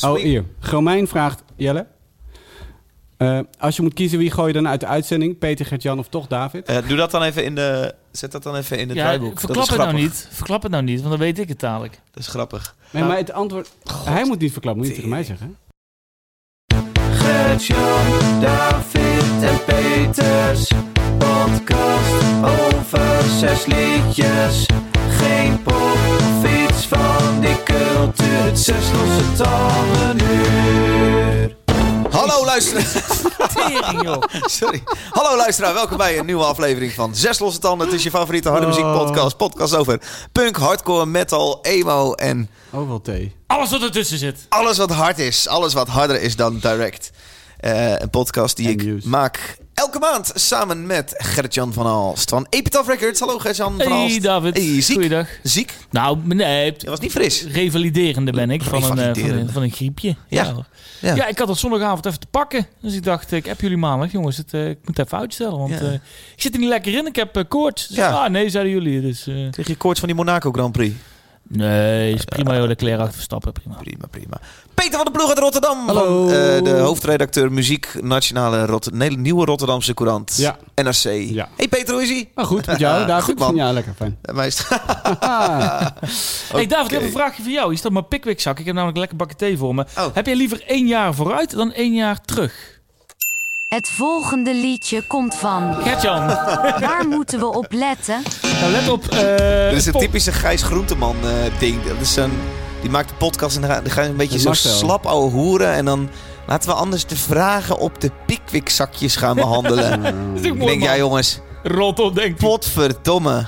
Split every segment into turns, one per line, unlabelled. Oh, hier. Gomijn vraagt, Jelle. eh, als je moet kiezen, wie gooi je dan uit de uitzending? Peter, Gert-Jan of toch David?
Eh, doe dat dan even in de. Zet dat dan even in het
Ja,
draaiboek. Dat
verklap
is
het nou
grappig.
niet. Verklap het nou niet, want dan weet ik het dadelijk.
Dat is grappig.
nee, maar het antwoord... Hij moet niet verklappen, moet je tegen mij zeggen. hè?
Gert-Jan, David en Peters. Podcast over zes liedjes. Geen pop, fiets van die cultuur. Zes losse tanden uur.
Hallo luisteraar.
Tering, joh.
Sorry. Hallo luisteraar. Welkom bij een nieuwe aflevering van Zes Losse Tanden. Het is je favoriete harde muziek podcast. Podcast over punk, hardcore, metal, emo en
Oh, wel thee.
Alles wat ertussen zit.
alles wat hard is. Alles wat harder is dan direct. Eh, een podcast die
En
ik
nieuws.
maak elke maand samen met Gert-Jan van Alst van Epitaph Records. Hallo Gert-Jan van Alst.
Hey, David.
Hey, ziek.
Goeiedag.
Ziek?
Nou, nee,
Je was niet fris.
revaliderende ben ik van een, eh, van
Revaliderende.
een, van een griepje.
Ja.
hoor.
Ja.
Ja. ik had het zondagavond even te pakken. Dus ik dacht, eh, ik heb jullie maandag, jongens, het, eh, ik moet even uitstellen. Want
Ja.
eh, ik zit er niet lekker in, ik heb eh, koorts. Dus,
Ja.
Ah, nee, zeiden jullie. Dus, eh,
Kreeg je koorts van die Monaco Grand Prix?
nee, is prima joh, de kleren achter verstappen, prima.
Prima, prima. Peter van de Ploeg uit Rotterdam.
Hallo.
Van, eh, de hoofdredacteur muziek Nationale Rot Nee, Nieuwe Rotterdamse Courant.
Ja.
NRC.
Ja.
Hey Peter, hoe is ie?
Maar goed, met jou, David?
Ah, Goed, man.
Ja, lekker, fijn.
Eh, Meest.
Ah,
Hey David, ik heb
Oké.
een vraagje voor jou. Hier staat mijn pikwikzak. Ik heb namelijk een lekker bakken thee voor me.
Oh.
Heb jij liever één jaar vooruit dan één jaar terug?
Het volgende liedje komt van.
Gertjan,
Waar moeten we op letten?
nou let op. eh,
Dit is
het
een
pop-
typische Gijs Groenteman eh, ding. Dat is een, die maakt de podcast en dan ga- dan ga je een beetje
Dat
zo
mag wel.
slap ouwe hoeren. En dan laten we anders de vragen op de pikwikzakjes gaan behandelen.
Dat is ook
Ik
mooi,
denk, ja
man.
jongens,
Rot op, denk ik.
potverdomme.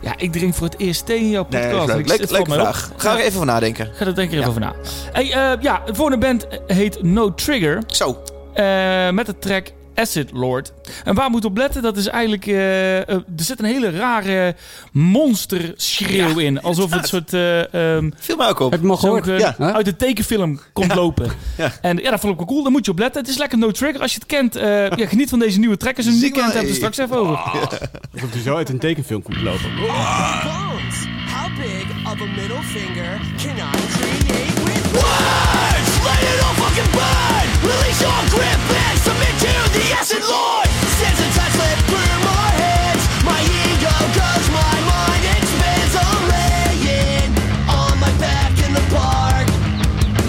Ja, ik drink voor het eerst thee in jouw
Nee,
podcast.
dat is leuk.
Ik-
Leuk-
het
leuke
valt mij op.
vraag. Ga er even van nadenken.
Ga er denk ik er even over na. Hey, eh, ja, de volgende band heet No Trigger.
Zo,
eh, met de track Acid Lord. En waar moet op letten? Dat is eigenlijk... eh, eh, er zit een hele rare monsterschreeuw in. Alsof het soort... eh, ehm,
viel mij ook op.
heb je hem al gehoord?
zo'n, eh,
Ja.
Uit de tekenfilm komt lopen.
Ja.
En ja, dat vond ik wel cool. Daar moet je op letten. Het is lekker no trigger. Als je het kent, eh, ja, geniet van deze nieuwe track. Als je hem niet
Zie maar, eh,
kent,
hey.
hebben we straks even over.
Alsof hij zo uit een tekenfilm komt
Bones.
lopen.
How big of a middle finger can I create with
Words! Let it all fucking burn! Release your grip and submit to the acid lord! Sensitized slip through my hands My ego goes, my mind expands I'm laying on my back in the park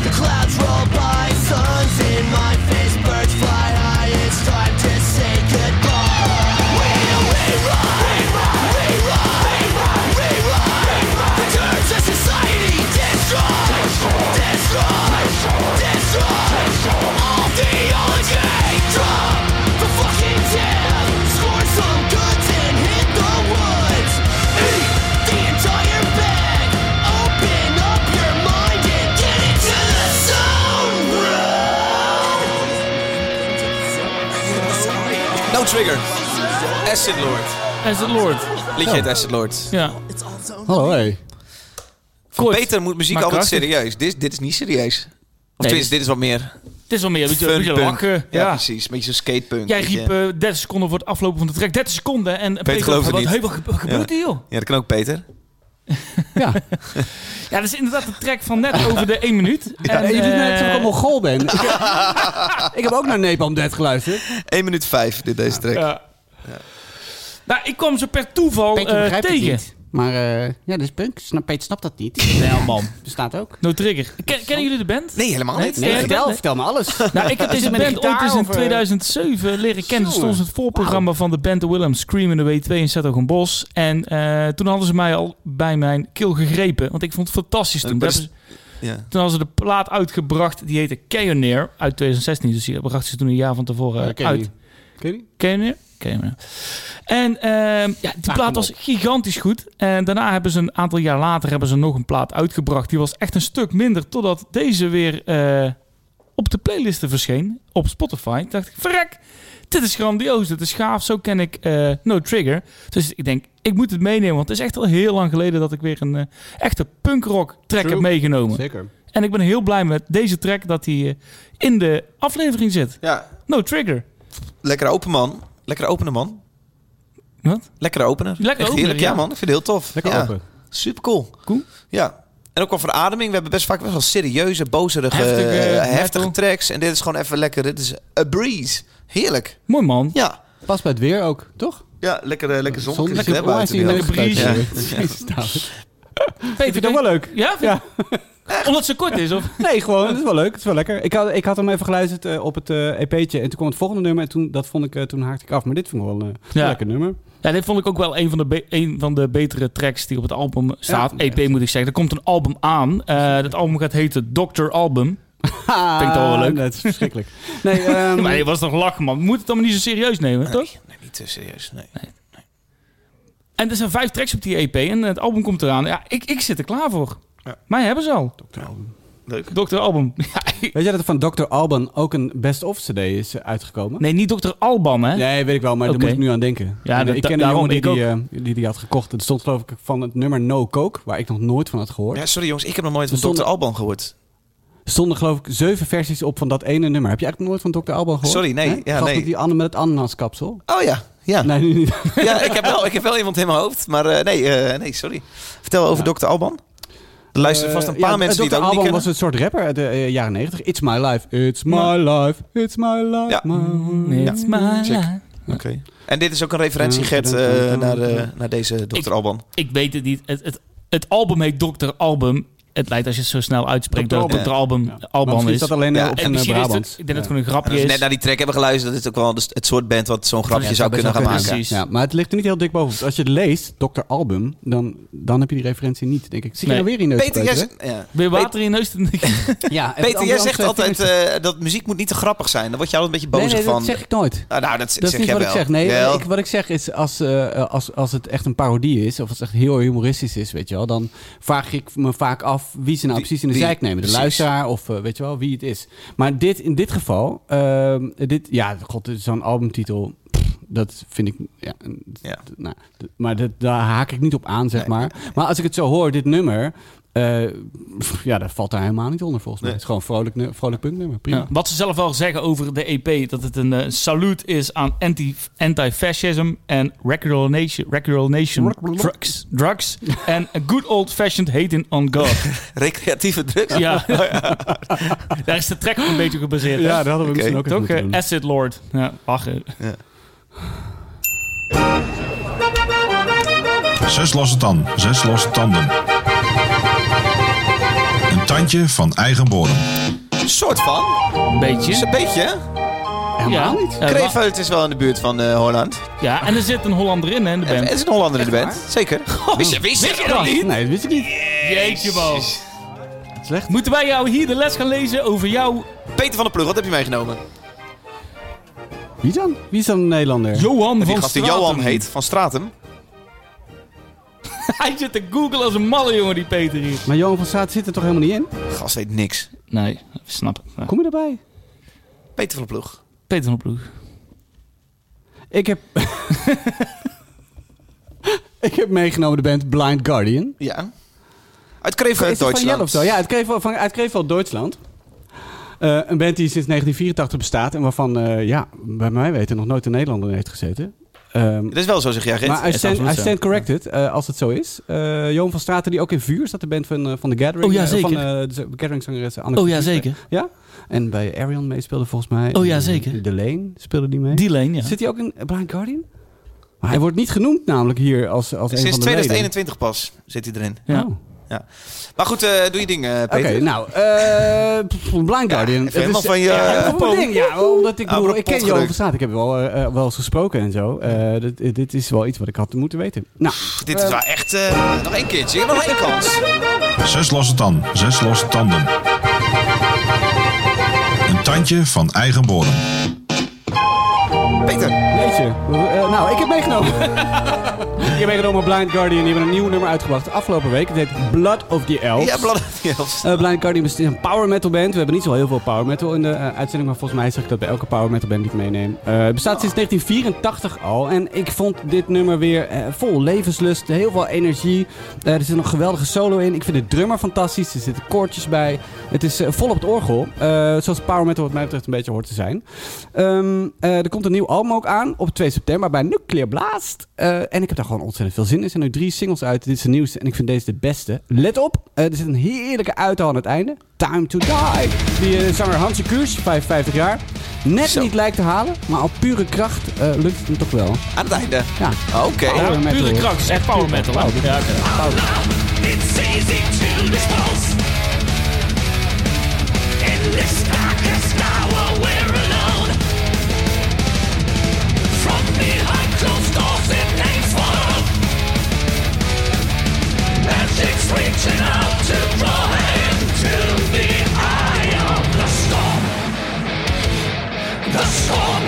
The clouds roll by, sun's in my face Birds fly high, it's time to say goodbye We rerun, rerun, rerun, rerun, rerun The curse of society destroyed
No Trigger. Acid Lord.
Acid Lord.
Liedje heet Acid Lord.
Ja.
Hallo, hey.
Kort.
Peter moet muziek
Maar
altijd
krachtig.
serieus. Dit, dit is niet serieus. Of
Nee,
tenminste, dit is wat meer
Het is wel meer een beetje, een
fun
beetje
punk.
lachen.
Ja,
Ja.
precies. Een beetje zo'n skatepunk.
Jij
weet je.
riep eh, 30 seconden voor het aflopen van de track. 30 seconden. En Peter,
geloofde
wat,
niet.
hey, wat gebe- wat gebeurt hier, joh?
Ja, dat kan ook Peter.
Ja,
Ja, dat is inderdaad de track van net over de 1 minuut.
en, je doet
eh,
net alsof ik een Mongool ben. Ik heb, ik heb ook naar Nepal Dead geluisterd.
1 minuut 5, dit, deze track.
ja. Nou, ik kwam ze per toeval
Peter
eh,
begrijpt het
tegen.
niet. Maar eh, ja, dat is punk. Snap, Peter snapt dat niet.
Nee, man.
Bestaat ook.
No Trigger. Ken- kennen jullie de band?
Nee, helemaal
Nee,
niet.
Nee,
Ja,
vertel,
nee.
vertel me alles.
Nou, ik heb deze
met een
band ooit
gitaar
eens in
of, eh?
2007 leren kennen. Toen stond ze in het voorprogramma van de band The Willems, Scream in the W2 in Stadhogen Bos. En eh, toen hadden ze mij al bij mijn keel gegrepen, want ik vond het fantastisch toen.
Dat
Dat
is-
is-
Ja.
toen hadden ze de plaat uitgebracht, die heette Cayoneer uit 2016. Dus die brachten ze toen een jaar van tevoren eh, uit.
Ken je die?
Cayoneer? Cayoneer. En ehm, ja, die
Ah, kom op.
plaat was gigantisch goed. En daarna hebben ze een aantal jaar later hebben ze nog een plaat uitgebracht. Die was echt een stuk minder, totdat deze weer eh, op de playlisten verscheen op Spotify. Toen dacht ik, verrek, dit is grandioos, dit is gaaf. Zo ken ik eh, No Trigger. Dus ik denk, ik moet het meenemen, want het is echt al heel lang geleden dat ik weer een eh, echte punkrock track
True.
heb meegenomen.
Zeker.
En ik ben heel blij met deze track dat hij eh, in de aflevering zit.
ja,
No Trigger.
lekker open man. Lekker openen man.
Wat?
Lekker opener.
Lekker
Echt
opener,
heerlijk. Ja.
ja.
man, ik vind het heel tof.
Lekker
ja.
open.
Super cool.
Cool.
Ja. En ook qua verademing. We hebben best vaak best wel serieuze, bozerige,
Heftige, eh,
heftige,
metal.
heftige tracks. En dit is gewoon even lekker. Dit is a breeze. Heerlijk.
Mooi man.
Ja.
Past bij het weer ook, toch?
Ja, lekker, eh, lekker zon.
Zon-
Lekker, hè,
onwijs
buiten
die
nu.
lekker
neus
bries.
buiten.
Ja.
Jezus, David.
Peter,
Vind je dat wel leuk?
Ja? Vind-
Ja.
Omdat ze kort is, of?
Nee, gewoon. Het is wel leuk. Het is wel lekker. Ik had, ik had hem even geluisterd eh, op het eh, EP'tje. En toen kwam het volgende nummer. En toen, dat vond ik, eh, toen haakte ik af. Maar dit vond ik wel eh, een
Ja.
lekker nummer.
Ja, dit vond ik ook wel een van de, be- een van de betere tracks die op het album staat.
Ja,
EP moet ik zeggen. Er komt een album aan. Eh, dat album gaat heten Doctor Album. Vind ik dat wel leuk.
Ah, Dat is verschrikkelijk. Nee, ehm,
Maar je was nog lachen, man. Moet het allemaal niet zo serieus nemen, toch?
Nee, niet te serieus. Nee.
En er zijn vijf tracks op die EP en het album komt eraan. Ja, ik, ik zit er klaar voor.
Ja.
Mij hebben ze al.
Leuk.
Dr. Album. Ja, ik-
Weet jij dat er van Dr. Alban ook een best-of CD is eh, uitgekomen?
nee, niet Dr. Alban, hè?
Nee, weet ik wel, maar
Oké.
daar moet ik nu aan denken.
Ja,
ik
dat-
ken een
daarom,
jongen die
ik ook.
die, eh, die die had gekocht. Het stond geloof ik van het nummer No Coke, waar ik nog nooit van had gehoord.
Ja, sorry jongens, ik heb nog nooit
We
van Dr.
stonden-
Alban gehoord.
Stonden geloof ik zeven versies op van dat ene nummer. Heb je eigenlijk nog nooit van Dr. Alban gehoord?
Sorry, nee.
Hè?
Ja,
Gast
nee.
met die Anne met het ananaskapsel.
Oh ja, ja.
Nee, nu niet.
ja ik, heb wel, ik heb wel iemand in mijn hoofd, maar eh, nee, eh, nee, sorry. Vertel over Dr. Alban. Er luisteren vast een
Eh,
paar
ja,
mensen die
Dr.
het ook
Alban
niet
was
kennen.
een soort rapper uit de eh, jaren 90. It's my life, it's my life, it's my life.
Ja.
my-
Nee, it's my
Ja, check.
life.
En dit is ook een referentie,
Ja,
Gert,
bedankt,
eh,
bedankt,
naar, eh,
bedankt.
naar deze Dr.
Ik-
Alban.
Ik weet het niet. Het, het, het album heet Dr. Album. Het lijkt als je het zo snel uitspreekt
Dr.
dat het Dr. Album
Ja. Maar
Alban
misschien
is.
is dat alleen
Ja,
eh, op
En
zijn eh,
misschien is het-
Brabants.
ik denk dat het
Ja.
gewoon een
En
grapje
als we
is.
Dus net naar die track hebben geluisterd, dat is ook wel dus het soort band wat zo'n grapje
Ja,
zou kunnen gaan maken.
precies.
Ja, maar het ligt er niet heel dik bovenop. Als je het leest, Dr. Album, dan, dan heb je die referentie niet, denk ik. Zie je
Nee.
nou weer in neus? te
Peter, jij,
peuteren?
z- ja.
Weer water in je neus. te-
Ja,
Peter, jij zegt altijd eh, dat muziek moet niet te grappig zijn. Daar word je altijd een beetje
nee,
boos
nee,
van.
dat zeg ik nooit.
Ah, nou, dat,
Dat is
zeg
niet
jij
wat
wel.
ik zeg. Nee,
Jawel.
ik, wat ik zeg is, als, eh, als, als het echt een parodie is, of als het echt heel humoristisch is, weet je wel, dan vraag ik me vaak af wie ze nou
Wie-
precies in de
wie-
zijk nemen. De
precies.
luisteraar of eh, weet je wel, wie het is. Maar dit, in dit geval, ehm, dit, ja, god, dit is zo'n albumtitel, Pff, dat vind ik, ja,
Ja.
d- nou, d- maar dat, daar haak ik niet op aan, zeg
Nee,
maar. Maar als ik het zo hoor, dit nummer, eh, pff, ja, dat valt daar helemaal niet onder volgens mij.
Nee.
Het is gewoon een vrolijk, nu- vrolijk punknummer, prima.
Ja. Wat ze zelf wel zeggen over de EP, dat het een eh, saluut is aan anti- anti-fascism en regulation, regulation drugs, drugs en a good old-fashioned hating on God.
Recreatieve drugs. Oh
ja. Daar is de track ook een beetje op gebaseerd. hè?
Ja, daar hadden we
Oké,
misschien ook even
Toch?
moeten
eh,
doen.
Acid Lord. Ja, lachen.
Zes losse tanden, zes losse tanden. Een tandje van eigen bodem.
Een soort van. Dus
Een beetje.
een beetje. hè?
Helemaal niet.
eh, wa-
Kreefeld is wel in de buurt van eh, Holland.
ja, en er zit een Hollander in, hè, in de
Er
band.
is een Hollander in de band. Zeker. Wist je, wist je dat niet?
Nee, dat wist ik niet.
Jeetje, man.
Slecht.
Moeten wij jou hier de les gaan lezen over jou,
Peter van der Plug, wat heb je meegenomen?
Wie dan? Wie is dan een Nederlander?
Johan
Die
van
gast die
Straten?
Johan heet, van Stratum.
Hij zit te googlen als een malle, jongen, die Peter hier.
Maar Johan van Straat zit er toch helemaal niet in?
Gast weet niks.
Nee, snap het. Ja.
Kom je erbij?
Peter van der Plug.
Peter van de Ploeg.
Ik heb... ik heb meegenomen de band Blind Guardian.
Ja. Uit
Is
Krefeld,
dat van
Duitsland.
Jelle of zo? Ja, uit Krefeld, van, uit Krefeld Duitsland. Eh, een band die sinds 1984 bestaat en waarvan, eh, ja, bij mij weten nog nooit een Nederlander in heeft gezeten. Ehm,
Dat is wel zo, zeg jij, Gert.
maar I
is
stand,
absoluut
I
zo.
stand corrected, eh, als het zo is. Eh, Johan van Straten, die ook in Vuur staat, de band van, eh, van The Gathering.
Oh ja,
eh,
zeker.
Van eh, de Gathering-zangeres Anne
Oh ja,
Verlies.
zeker.
Ja? En bij Arion meespeelde volgens mij.
Oh ja,
En,
zeker.
eh, De Lane speelde die mee.
Die lane, ja.
Zit hij ook in Blind Guardian? Maar hij wordt niet genoemd namelijk hier als, als een
Sinds
van de leden.
2021 pas zit hij erin.
Ja.
Oh.
Maar goed, eh, doe je ding, eh,
Oké,
Peter.
nou, eh, pff, Blind Guardian. Het
helemaal
is,
van je,
eh,
eh,
helemaal van mijn ding, ja, omdat ik,
Ah,
bedoel,
wordt
ik ken
kapot
Johan
gedrukt.
van Staat. Ik heb wel, eh, eh, wel eens gesproken en zo. Eh, dit, dit is wel iets wat ik had moeten weten. Nou,
Dit is wel echt... eh, nog één keertje, nog één kans.
Zes losse tanden, zes losse tanden. Een tandje van eigen bodem.
Peter.
weet je. Eh, nou, ik heb meegenomen. ik heb meegenomen Blind Guardian. Die hebben een nieuw nummer uitgebracht afgelopen week. Het heet Blood of the Elves.
Ja, Bladderfjels.
Eh, Blind Guardian is een power metal band. We hebben niet zo heel veel power metal in de eh, uitzending, maar volgens mij zeg ik dat bij elke power metal band die ik meeneem. Eh, het bestaat sinds 1984 al en ik vond dit nummer weer eh, vol levenslust, heel veel energie. Eh, er zit een geweldige solo in. Ik vind de drummer fantastisch, er zitten koortjes bij. Het is eh, vol op het orgel, eh, zoals power metal wat mij betreft een beetje hoort te zijn. Ehm, eh, er komt een nieuw album ook aan op 2 september bij Nuclear Blast. Eh, en ik heb daar gewoon gewoon ontzettend veel zin in. Er zijn nu drie singles uit. Dit is de nieuwste en ik vind deze de beste. Let op, eh, er zit een heerlijke uithal aan het einde. Time to Die. Die eh, zanger Hansi Kuurs, 55 jaar. Net
Zo.
niet lijkt te halen, maar op pure kracht eh, lukt het hem toch wel.
Aan het einde.
Ja.
Oké.
Ja. Power metal,
Oh, pure
hoor.
kracht. Het is echt power metal. hè?
Power.
Ja, oké.
It's easy to dispose. In this darkest hour, we're alone. From behind closed doors, it names follow. Magic's reaching out to draw into the eye of the storm. The storm.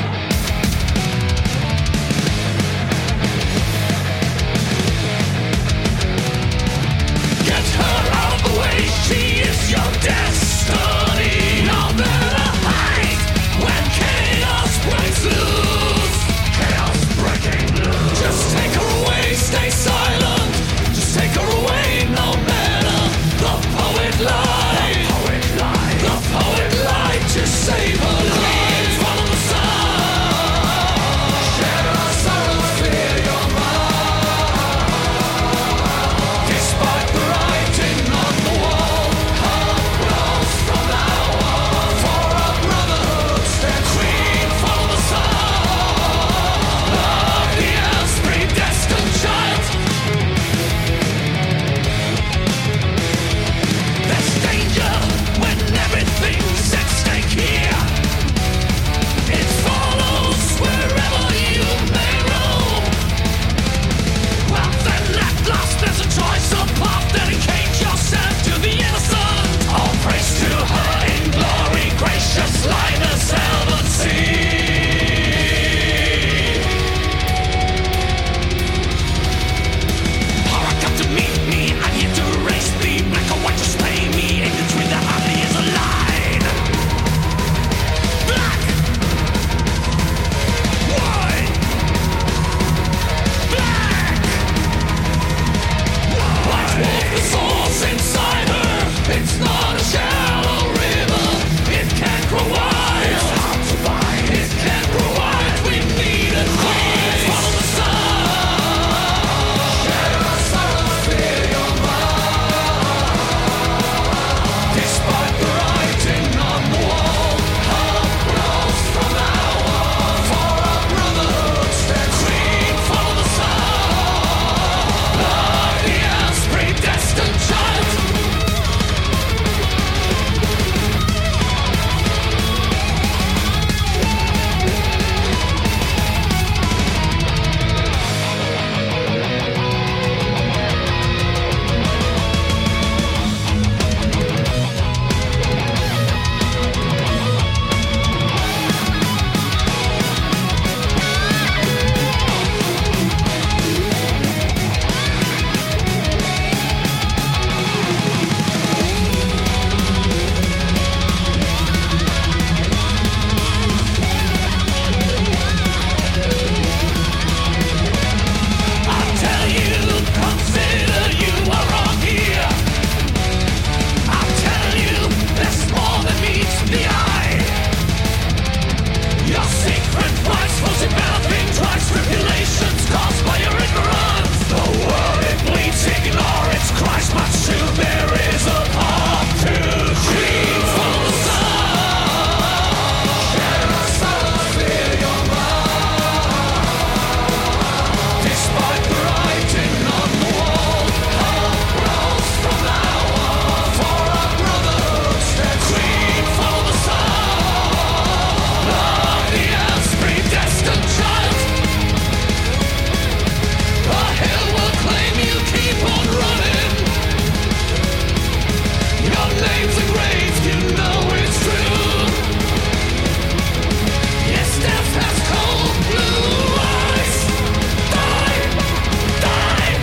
Get her out the way, she is your destiny. Now better hide when chaos breaks loose. Chaos breaking loose. Just take her away, stay silent. Just take her away, no matter. The poet lied. The poet lied. The poet lied to save her life. Follow the sun. Share our sorrows, clear your mind. Despite the writing on the wall, hope grows from now on. For our brotherhood stands queen, follow the sun. Love the earth's predestined child. There's danger when everything's at stake here. It follows wherever you may roam. Well then, at last, there's a choice of path. Dedicate yourself to the innocent. All praise to her in glory, gracious light as heaven sea. Horror come to meet me. I'm here to race the black or white. Just pay me ignorance with the hardly is a line. Black. White. Black. White wolf, the source inside her. It's not a shallow river. It can grow wide. It's hard to find. It can grow wide. We need a queen. Follow the sun. Share our sorrows, clear your mind. Despite the writing on the wall, hope grows from now on. For our brotherhood stands queen. Follow the sun. Yes, predestined child. I tell you, consider you are wrong here. I tell you, there's more than meets the eye. Your secret price was enveloping twice tribulations caused by your ignorance. The world it bleeds, ignore its Christ, much soon there is a path to dream. Follow the sun. Share our sorrows, clear your mind. Despite the writing on the wall, hope grows from now on. For our brotherhood stands queen, follow the sun. Love the earth's predestined child. The hill will claim you, keep on running. Your name's engraved, you know it's true. Yes, death has cold blue eyes. Die, die,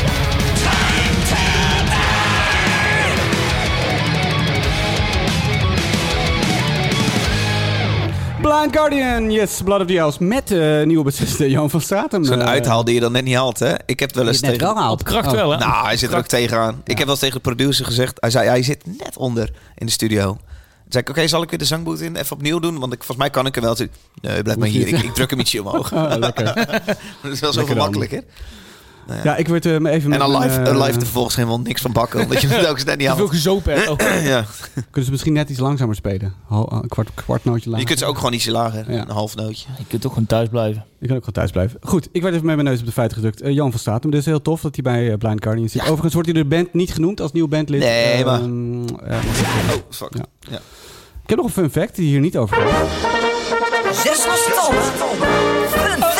time to die.
Blind Guardian, yes, Blood of the House. Met eh nieuwe bassiste Johan van Stratum.
Zo'n
eh,
uithaal die je dan net niet haalt, hè? Ik heb wel
die
eens
het net
tegen...
wel haalt.
Op kracht
Oh.
wel, hè?
Nou, hij zit er ook tegenaan. Ik heb wel eens tegen de producer gezegd... Hij zei, hij zit net onder in de studio. Toen zei ik, oké, zal ik weer de zangboot in? Even opnieuw doen? Want ik, volgens mij kan ik er wel. Toen, nee, blijf maar
Hoef je
hier. Ik,
niet.
ik druk hem ietsje omhoog.
Oh, lekker.
dat is wel
Lekker
zoveel
dan.
makkelijker.
Ja, ik werd eh, even...
En
met
dan
mijn,
live,
eh,
eh, live er volgens helemaal niks van bakken. Omdat je het ook net niet
Te veel
haalt.
gezopen hebt. ook.
Ja.
Kunnen ze misschien net iets langzamer spelen? Ho- een kwart, kwartnootje lager.
Je kunt ze ook gewoon ietsje lager.
Ja.
Een half nootje.
Je kunt ook gewoon thuis blijven.
Je kan ook gewoon thuis blijven. Goed, ik werd even met mijn neus op de feiten gedrukt. Eh, Jan van Statum, dus heel tof dat hij bij eh, Blind Guardian zit. Overigens wordt hij door de band niet genoemd als nieuw bandlid.
Nee,
Ehm,
maar-
eh,
Oh, fuck.
Ja.
Ja.
ik heb nog een fun fact die hier niet over gaat.
Zes losse tanden. Fun fact.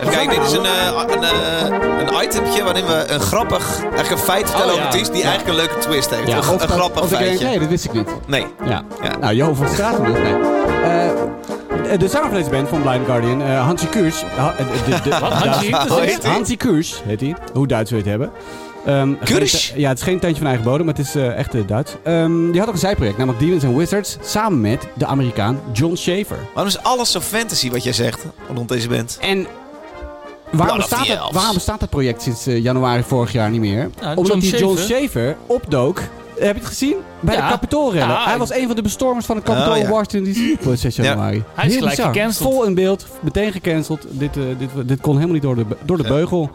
Even kijken, dit is een, eh, een, eh, een itempje waarin we een grappig, eigenlijk een feit vertellen
Oh,
over
ja.
het is die eigenlijk een leuke twist heeft. een,
Of
een
dat-
grappig
of ik denk,
feitje.
Nee, dat wist ik niet.
Nee.
Ja.
Ja.
Nou, Johan van Straten dus, nee. Eh, de zanger van deze band van Blind Guardian, eh Hansi Kuurs. Ha- eh, de- de- de-
Wat, Hansi?
Ja,
Hoe heet
hij?
Hansi Kuurs heet hij. Hoe Duits wil je het hebben? Ehm,
Kuurs?
geen- Ja, het is geen tentje van eigen bodem, maar het is eh, echt eh, Duits. Ehm, die had ook een zijproject, namelijk Demons and Wizards, samen met de Amerikaan John Schaefer.
Waarom is alles zo fantasy wat jij zegt rond deze band?
En
Blood
waarom
of
bestaat,
the
het,
Elves.
waarom bestaat dat project sinds eh, januari vorig jaar niet meer?
Nou,
Omdat
John
die John
Schaefer-
Schaefer opdook. Heb je het gezien? Bij
Ja.
de Capitoolrellen.
Ja,
Hij
ik-
was een van de bestormers van de Capitool
Oh,
in
ja.
Washington DC voor 6
Ja.
januari.
Hij is
Heel
gelijk
bizar.
gecanceld.
Vol in beeld. Meteen gecanceld. Dit, eh, dit, dit kon helemaal niet door de, be- door de beugel.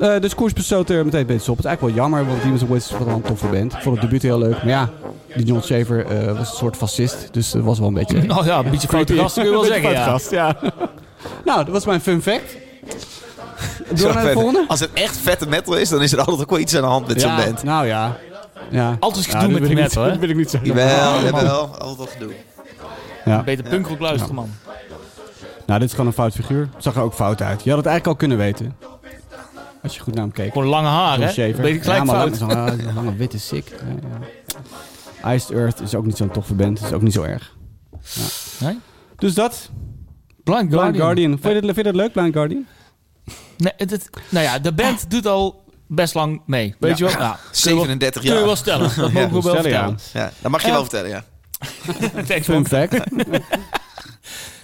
Eh, dus Koers besloot er meteen een beetje op. Het is eigenlijk wel jammer, want Demons West is wel een toffe band. Ik vond het debuut heel leuk. Maar ja, die John Schaefer eh, was een soort fascist. Dus dat was wel een beetje...
Nou ja, een beetje foute gast kun je wel zeggen. Ja.
Foutgast, ja. nou, dat was mijn fun fact. Door naar de
Verder.
volgende?
Als het echt vette metal is, dan is er altijd ook wel iets aan de hand met zo'n
ja,
band.
Nou ja. ja.
Altijd
Ja,
gedoe
dat wil
met die
ik
metal,
niet-
hè?
Dat wil ik niet zeggen.
Jawel, jawel. Altijd al gedoe.
Ja.
Beter punkrock luisteren, man.
Nou, dit is gewoon een fout figuur. Het zag er ook fout uit. Je had het eigenlijk al kunnen weten. Als je goed naar hem keek.
Gewoon lange haar, hè?
Shaver.
Weet ik gelijk
ja, maar
fout.
Lang, zo'n- zo'n lange witte sick. Ja, ja. Iced Earth is ook niet zo'n toffe band. Is ook niet zo erg. Ja.
Nee?
Dus dat.
Blind
Blind Guardian. Vond je dit- vind je dat leuk, Blind Guardian?
Nee, het, het- nou ja, de band doet al best lang mee. Weet je wel? Nou, kun je wel-
37
Kun je wel
jaar.
stellen. Dat mogen we wel
Stellen, ja.
vertellen.
Ja, dat mag je
Eh,
wel vertellen, ja.
Thanks,
Fun
man.
fact.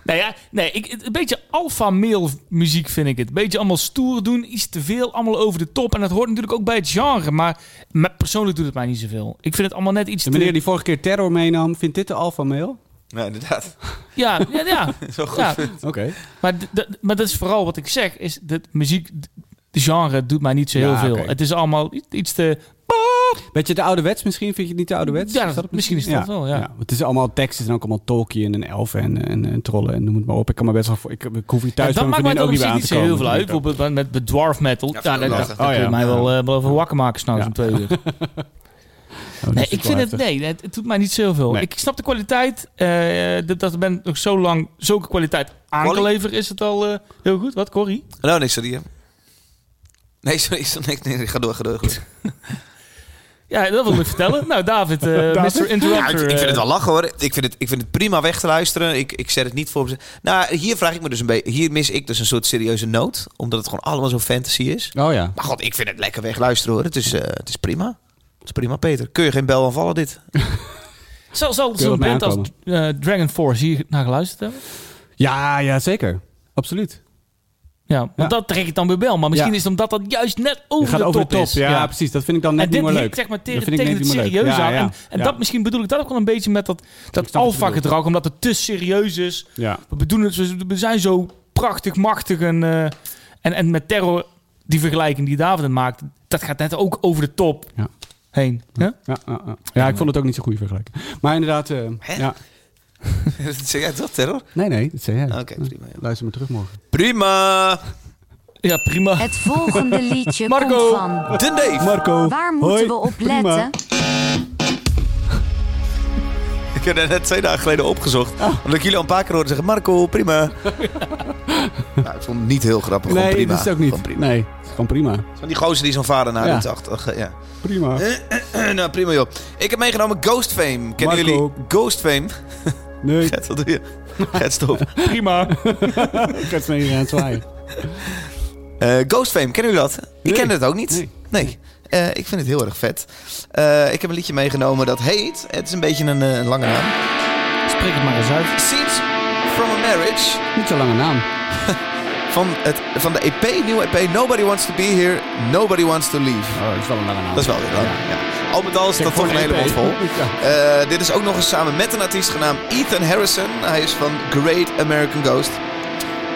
Nou ja, nee, ik, het- een beetje alpha male muziek vind ik het. Een beetje allemaal stoer doen, iets te veel, allemaal over de top. En dat hoort natuurlijk ook bij het genre, maar me- persoonlijk doet het mij niet zoveel. Ik vind het allemaal net iets
De
te...
meneer die vorige keer terror meenam, vindt dit de alpha mail?
Ja, inderdaad.
Ja, ja, ja.
Zo goed.
Ja,
Oké.
maar, d- d- maar dat is vooral wat ik zeg, is dat muziek, d- de genre doet mij niet zo heel
Ja,
veel.
oké.
Het is allemaal i- iets te...
Weet je, de ouderwets misschien? Vind je het niet de ouderwets?
Ja,
Is het
misschien is dat wel, ja.
Het is allemaal teksten en ook allemaal Tolkien en elfen en, en, en trollen en noem het maar op. Ik kan me best wel voor... Ik, ik hoef hier thuis
dat
bij
maakt mij
mijn
dan
vriendin
op
ook niet
zich
bij aan te komen.
niet zo heel veel uit. Bijvoorbeeld met, met, met dwarf metal,
Ja,
ja,
vind ik
dat,
ook lastig.
dat,
Oh,
dat kun je
ja.
mij wel, eh, wel over wakker maken s'nachts
Ja.
om twee
Oh,
uur.
dat
Nee,
is
ik
wel
vind het,
heftig.
nee, het, het doet mij niet zoveel.
Nee.
Ik snap de kwaliteit. eh, dat- dat ben nog zo lang zulke kwaliteit aangeleverd is het al eh, heel goed. Wat, Corrie?
Nou, nee, sorry. hè. Nee, sorry. sorry nee, nee, ga door, ga door. ga door.
Ja, dat wil ik vertellen. Nou, David, eh, Mr.
Ja, ik,
Interrupter.
ik vind het
eh,
wel lachen hoor. Ik vind het, ik vind het prima weg te luisteren. Ik, ik zet het niet voor. Nou, hier vraag ik me dus een beetje. Hier mis ik dus een soort serieuze noot. Omdat het gewoon allemaal zo fantasy is.
Oh ja.
Maar god, ik vind het lekker weg luisteren hoor. Het is, eh, het is prima. Het is prima, Peter. Kun je geen bel aanvallen dit?
Zal, zal
je dat
zo'n
mij
band als eh, Dragon Force hier naar geluisterd hebben?
Ja, ja, zeker. Absoluut.
Ja, want
Ja.
dat trek ik dan weer wel. Maar misschien
Ja.
is het omdat dat juist net
Je
over,
gaat
de,
over
top
de top.
is.
Ja, precies. Dat vind ik dan net
en dit
niet meer leuk.
hikt zeg maar
Dat
tegen,
vind ik
tegen
net
het
niet meer leuk.
serieuze
Ja,
aan.
ja,
en en
ja.
dat misschien bedoel ik dat ook wel een beetje met dat, dat
je bedoelt.
alfa-gedrag. Omdat het te serieus is.
Ja.
We, bedoelen het, we- we zijn zo prachtig, machtig en, eh, en, en met terror, die vergelijking die David maakt, dat gaat net ook over de top
Ja.
heen. Ja?
Ja, ja, ja. ja, ik vond het ook niet zo'n goede vergelijking. Maar inderdaad, eh, ja.
zeg jij dat, terror?
Nee, nee, dat zei jij.
Oké, prima. ja.
Luister me terug morgen.
Prima.
ja, prima.
Het volgende liedje
Marco.
komt van.
De Dave.
Marco,
Waar moeten
hoi,
we op
prima.
letten?
Ik heb dat net twee dagen geleden opgezocht. Omdat ik jullie al een paar keer hoorde zeggen: Marco, prima. nou, ik vond het niet heel grappig. gewoon
Nee,
prima.
dat is het ook
Gewoon
niet.
prima.
Nee, het is gewoon prima.
Van die gozer die zo'n vader
Ja.
nadoet. Ach, ja.
Prima.
nou, prima joh. Ik heb meegenomen Ghost Fame. Kennen
Marco.
jullie Ghost Fame?
Nee,
Gert, wat doe je? Gert, stop.
prima.
ik ga snel hier aan het zwaaien.
Eh, Ghost Fame, kennen jullie dat? Ik
Nee.
ken het ook niet. Nee.
Nee.
Eh, ik vind het heel erg vet. Eh, ik heb een liedje meegenomen dat heet... Het is een beetje een eh, lange naam.
Spreek het maar eens uit.
Scenes from a Marriage.
Niet zo'n lange naam.
Van, het, van de EP, nieuwe EP. Nobody wants to be here. Nobody wants to leave.
Oh, dat is wel een lange naam.
Dat is wel weer lang. Ja. Al met al is
Zeg,
dat toch
voor
een hele
EP.
mond vol.
Ja.
Eh, dit is ook nog eens samen met een artiest genaamd Ethan Harrison. Hij is van Great American Ghost.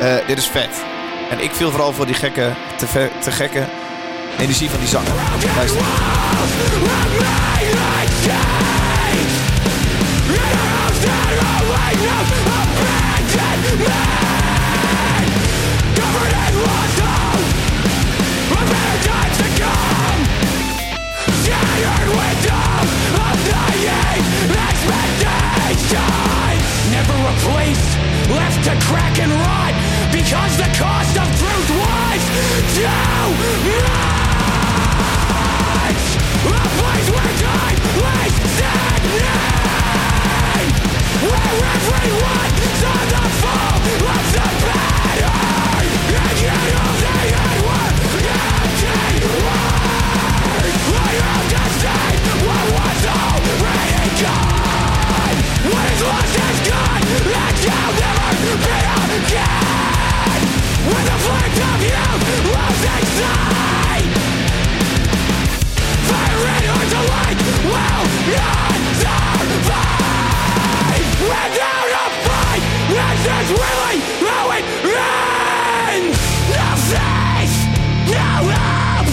Eh, dit is vet. En ik viel vooral voor die gekke te, ver- te gekke energie van die zanger. Luister.
Never replaced, left to crack and rot because the cost of truth was too much. A place where time lays stagnant, where everyone saw the fall of the pattern, and yet all they had were empty words. I understand what was already gone. What is lost is gone, and shall never be again. When the flames of youth lose its sight, fire in our delight will not survive. Without a fight, this is really how it ends. No faith, no love.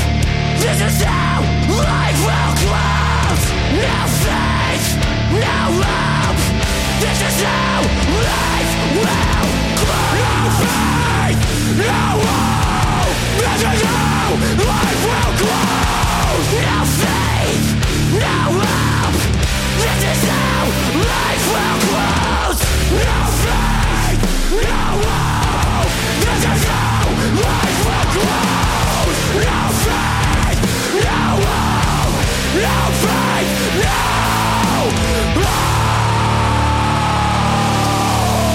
This is how life will close. No faith, no love. This is how life will close. No faith, no hope. This is how life will close. No faith, no hope. This is how life will close. No faith, no hope. This is how life will close. No faith, no hope. No faith, no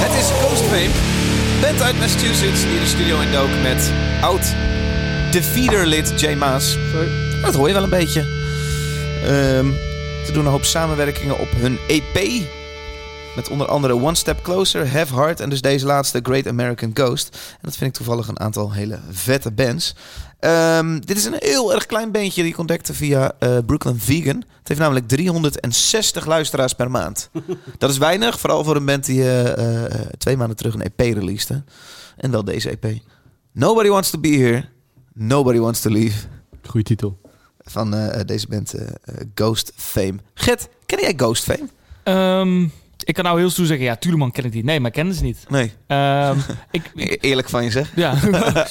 Het is Ghost Fame, band uit Massachusetts die de studio indook met oud de feederlid Jay Maas. Dat hoor je wel een beetje. Ehm, ze doen een hoop samenwerkingen op hun EP. Met onder andere One Step Closer, Have Heart en dus deze laatste Great American Ghost. En dat vind ik toevallig een aantal hele vette bands. Ehm, dit is een heel erg klein bandje die ik ontdekte via eh, Brooklyn Vegan. Het heeft namelijk 360 luisteraars per maand. Dat is weinig, vooral voor een band die eh, eh, twee maanden terug een EP releasede. En wel deze EP. Nobody Wants to Be Here, Nobody Wants to Leave.
Goeie titel.
Van eh, deze band eh, eh, Ghost Fame. Gert, ken jij Ghost Fame?
Ehm, ik kan nou heel stoer zeggen, ja, Tuleman ken ik die. Nee, maar ik ken ze niet.
Nee.
Ehm, ik,
E-, Eerlijk van je zeg.
ja,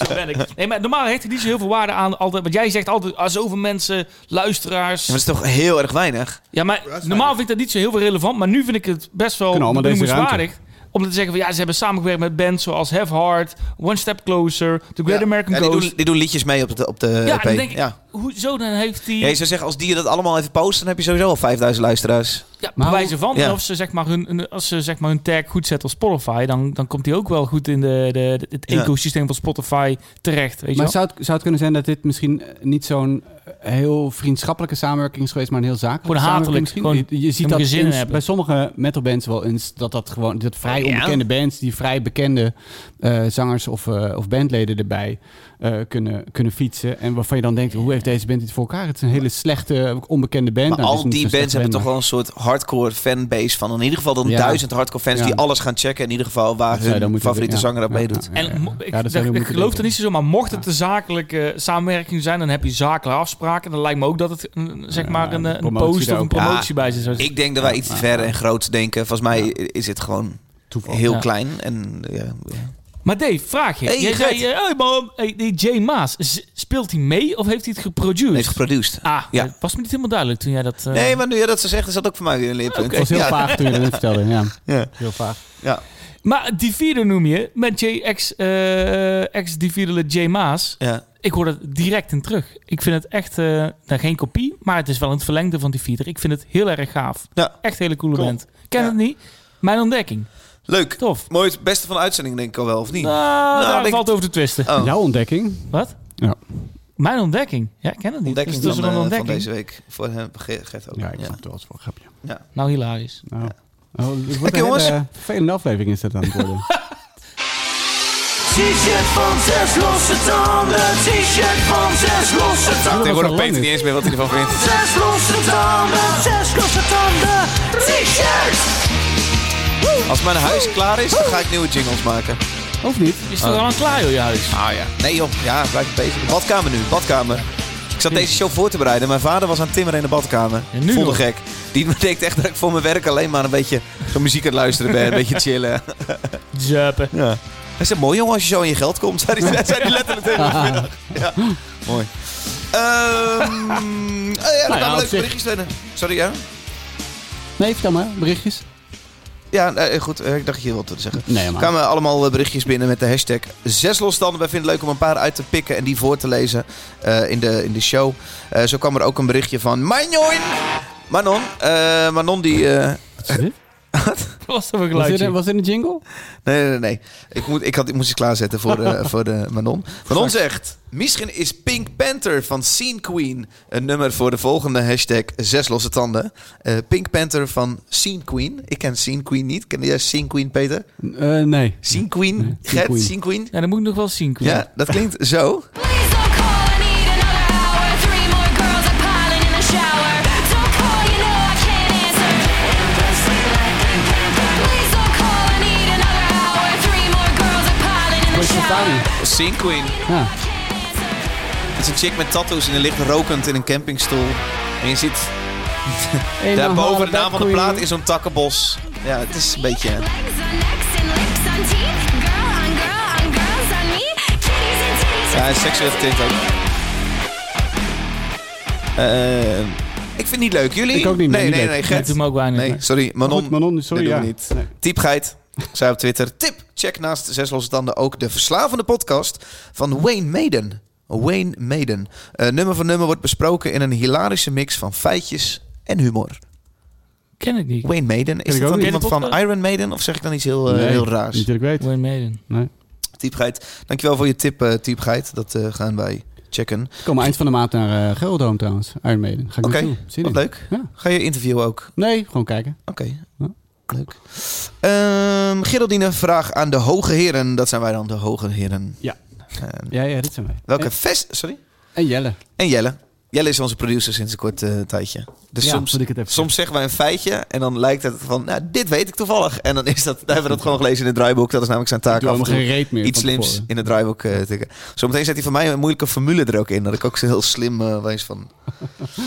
zo ben ik. Nee, maar normaal hecht ik niet zo heel veel waarde aan altijd. Want jij zegt altijd, ah, zoveel mensen, luisteraars.
Maar dat is toch heel erg weinig?
Ja, maar normaal vind ik dat niet zo heel veel relevant. Maar nu vind ik het best wel
Kunnen allemaal deze ruimte.
benoemenswaardig. Om te zeggen van ja, ze hebben samengewerkt met bands zoals Have Heart, One Step Closer, The Great
Ja.
American
Ja, die,
Ghost.
doen, die doen liedjes mee op de, op de
ja,
EP.
dan denk ik,
ja.
hoezo dan heeft die...
Ja, je zou zeggen, als die je dat allemaal even post, dan heb je sowieso al 5000 luisteraars.
Ja,
Maar
maar
hoe-
wijze van.
ja.
En Of ze, zeg maar, hun- hun, als ze zeg maar, hun tag goed zetten op Spotify, dan, dan komt die ook wel goed in de, de, de- het
Ja.
ecosysteem van Spotify terecht. Weet je
Maar
wel?
zou het, zou het kunnen zijn dat dit misschien eh, niet zo'n eh, heel vriendschappelijke samenwerking is geweest, maar een heel zakelijke
Gewoon hatelijk,
samenwerking misschien?
gewoon
je, je ziet
helemaal
dat
geen zin in
eens-
hebben.
bij sommige metalbands wel eens dat dat gewoon dat vrij
Ja.
onbekende bands die vrij bekende eh, zangers of, eh, of bandleden erbij eh, kunnen, kunnen fietsen en waarvan je dan denkt hoe heeft deze band dit voor elkaar? Het is een hele slechte onbekende band.
Maar
Nou, het is
al
niet
die
zo'n
bands
slechte
hebben toch
band,
wel een soort hardcore fanbase van. In ieder geval dan
Ja.
duizend hardcore fans
Ja.
die alles gaan checken. In ieder geval
maar
waar
dat zou je dan
hun
moeten
favoriete
doen. Ja,
zanger aan
ja,
meedoet.
ja, ja, ja.
En mo- ik,
Ja, dat zou je
ik, ik
moeten
geloof
doen.
er niet zo maar mocht het een zakelijke samenwerking zijn, dan heb je zakelijke afspraken. Dan lijkt me ook dat het een, zeg
Ja,
maar een,
een
een
promotie
post
daar
of een
ook.
Ja,
promotie bij zit. Zo-
Ik denk dat wij iets te ver en groots denken. Volgens mij is het gewoon
Toeval.
heel
Ja.
klein. En, ja, ja.
Maar Dave, vraag je.
Hey,
Jij
Gert.
zei, eh, hey man, hey, die Jay Maas, z- speelt hij mee of heeft hij het geproduced?
Heeft geproduced.
ah,
Ja.
dat was me niet helemaal duidelijk toen jij dat... eh,
Nee, maar nu je dat ze zegt, is dat ook voor mij weer een leerpunt.
Het was heel
ja.
vaag toen je dat net vertelde. Ja,
Ja.
heel vaag.
Ja.
Maar Divider noem je, met J, ex, eh ex Dividerlet J Maas.
Ja.
Ik hoor het direct in terug. Ik vind het echt, eh, nou geen kopie, maar het is wel het verlengde van Divider. Ik vind het heel erg gaaf.
Ja.
Echt hele coole
Cool.
band. Ken
Ja.
het niet? Mijn ontdekking.
Leuk.
Tof.
Mooi, het beste van de uitzending denk ik al wel, of niet?
Nou, daar
denk-
valt over te twisten.
Oh,
Jouw ontdekking?
Wat?
Ja.
Mijn ontdekking? Ja, ik ken het niet.
ontdekking
Dus het is
van,
wel
eh,
een
van
ontdekking.
deze week. Voor hem, Ge- Gert ook.
Ja, ik
Ja.
snap het wel eens voor een grapje.
Nou, hilarisch.
Nou. Oh, het wordt
Oké,
een
jongens.
hele vervelende aflevering is dat aan het worden.
T-shirt van zes losse tanden, t-shirt van zes losse tanden.
Tegenwoordig
lang
weet
is.
niet eens meer wat hij ervan vindt.
Zes losse tanden, zes losse tanden, t-shirt!
Als mijn huis klaar is, dan ga ik nieuwe jingles maken.
Of niet?
Je staat al aan klaar joh, je huis.
Oh. Ah ja. Nee joh, ja, blijf bezig. Badkamer nu, badkamer. Ik zat deze show voor te bereiden. Mijn vader was aan het timmeren in de badkamer.
En nu
Vond
nog?
het gek. Die bedenkt echt dat ik voor mijn werk alleen maar een beetje zo'n muziek aan het luisteren ben. Een beetje chillen.
Zuipen.
Ja. Hij zei, mooi jongen als je zo in je geld komt. Zei hij, zei hij letterlijk tegen me vanmiddag. Ja, mooi. Ehm oh ja, dat
Nou ja,
waren
op
leuke
zich.
berichtjes binnen. Sorry, ja?
Nee, vertel maar. Berichtjes?
Ja, eh, goed. eh, ik dacht dat je wat te zeggen.
Nee,
Er
maar.
kwamen allemaal eh, berichtjes binnen met de hashtag zes losstanden. Wij vinden het leuk om een paar uit te pikken en die voor te lezen eh, in, de, in de show. Eh, zo kwam er ook een berichtje van Manon. Manon, eh, Manon die... eh,
Wat is dit?
Wat was dat voor
Was dit,
geluidje?
een- was dit een jingle?
Nee, nee, nee. Ik, moet, ik, had, ik moest iets klaarzetten voor, eh, voor de Manon. Manon zegt... Misschien is Pink Panther van Scene Queen een nummer voor de volgende hashtag Zes Losse Tanden. Eh, Pink Panther van Scene Queen. Ik ken Scene Queen niet. Ken jij Scene Queen, Peter?
Eh, nee.
Scene Queen?
Nee, Scene
Gert,
Queen.
Scene Queen?
Ja, dat moet ik nog wel zien. Koen.
Ja, dat klinkt zo.
Please don't call, I need another hour. Three more girls are piling in the shower. Don't call, you know I can't answer. Please don't call, I need another hour. Three more girls are piling in the
Voice
shower.
Safari.
Scene Queen.
Ja.
Het is een chick met tattoos en die ligt rokend in een campingstoel. En je ziet daarboven
boven
de naam van de plaat in zo'n takkenbos. Ja, het Uh, is een beetje...
Legs on necks and lips on teeth. Girl on girl on girls on me. Kitties and titties.
Ja, en seksueel getint ook. Eh, ik vind het niet leuk. Jullie?
Ik ook niet, nee,
Nee,
niet
nee,
leuk.
nee.
Dat
Gert.
doet me ook weinig.
Nee, sorry. Manon.
Goed, Manon, sorry.
dat
ja.
doen we niet.
Nee.
Typgeit. Zij op Twitter. Tip. Check naast Zes Losse Tanden ook de verslavende podcast van Wayne Maiden. Wayne Maiden. Eh, nummer voor nummer wordt besproken in een hilarische mix van feitjes en humor.
Ken ik niet.
Wayne Maiden. Is dat
ik ook
dan
niet.
iemand
Ken je de
van
podcast?
Iron Maiden? Of zeg ik dan iets heel, eh,
Nee,
heel raars?
Niet dat ik weet.
Wayne
Dus
Maiden.
Nee.
Typgeit. Dankjewel voor je tip, eh Typgeit. Dat eh, gaan wij checken.
Ik kom eind van de maand naar eh Gelderdoom trouwens. Iron Maiden. Ga ik
Oké,
naartoe. Zin
wat
in.
leuk.
Ja.
Ga je interviewen ook?
Nee, gewoon kijken.
Oké.
Ja.
Leuk. Ehm Geraldine, vraag aan de hoge heren. Dat zijn wij dan, de hoge heren.
Ja.
Ehm,
Ja, ja, dit zijn wij.
welke
En,
fest... Sorry?
en Jelle.
En Jelle. Jelle is onze producer sinds een kort eh, tijdje. Dus
Ja,
soms,
moet ik het even
soms zeggen wij een feitje en dan lijkt het van... Nou, dit weet ik toevallig. En dan is dat, dan hebben we dat gewoon gelezen in het draaiboek. Dat is namelijk zijn taak
Ik doe
af en
helemaal
toe
geen reet meer
Iets
van
slims
tevoren.
in het draaiboek eh, tikken. Zometeen zet hij van mij een moeilijke formule er ook in. Dat ik ook zo heel slim eh wees van...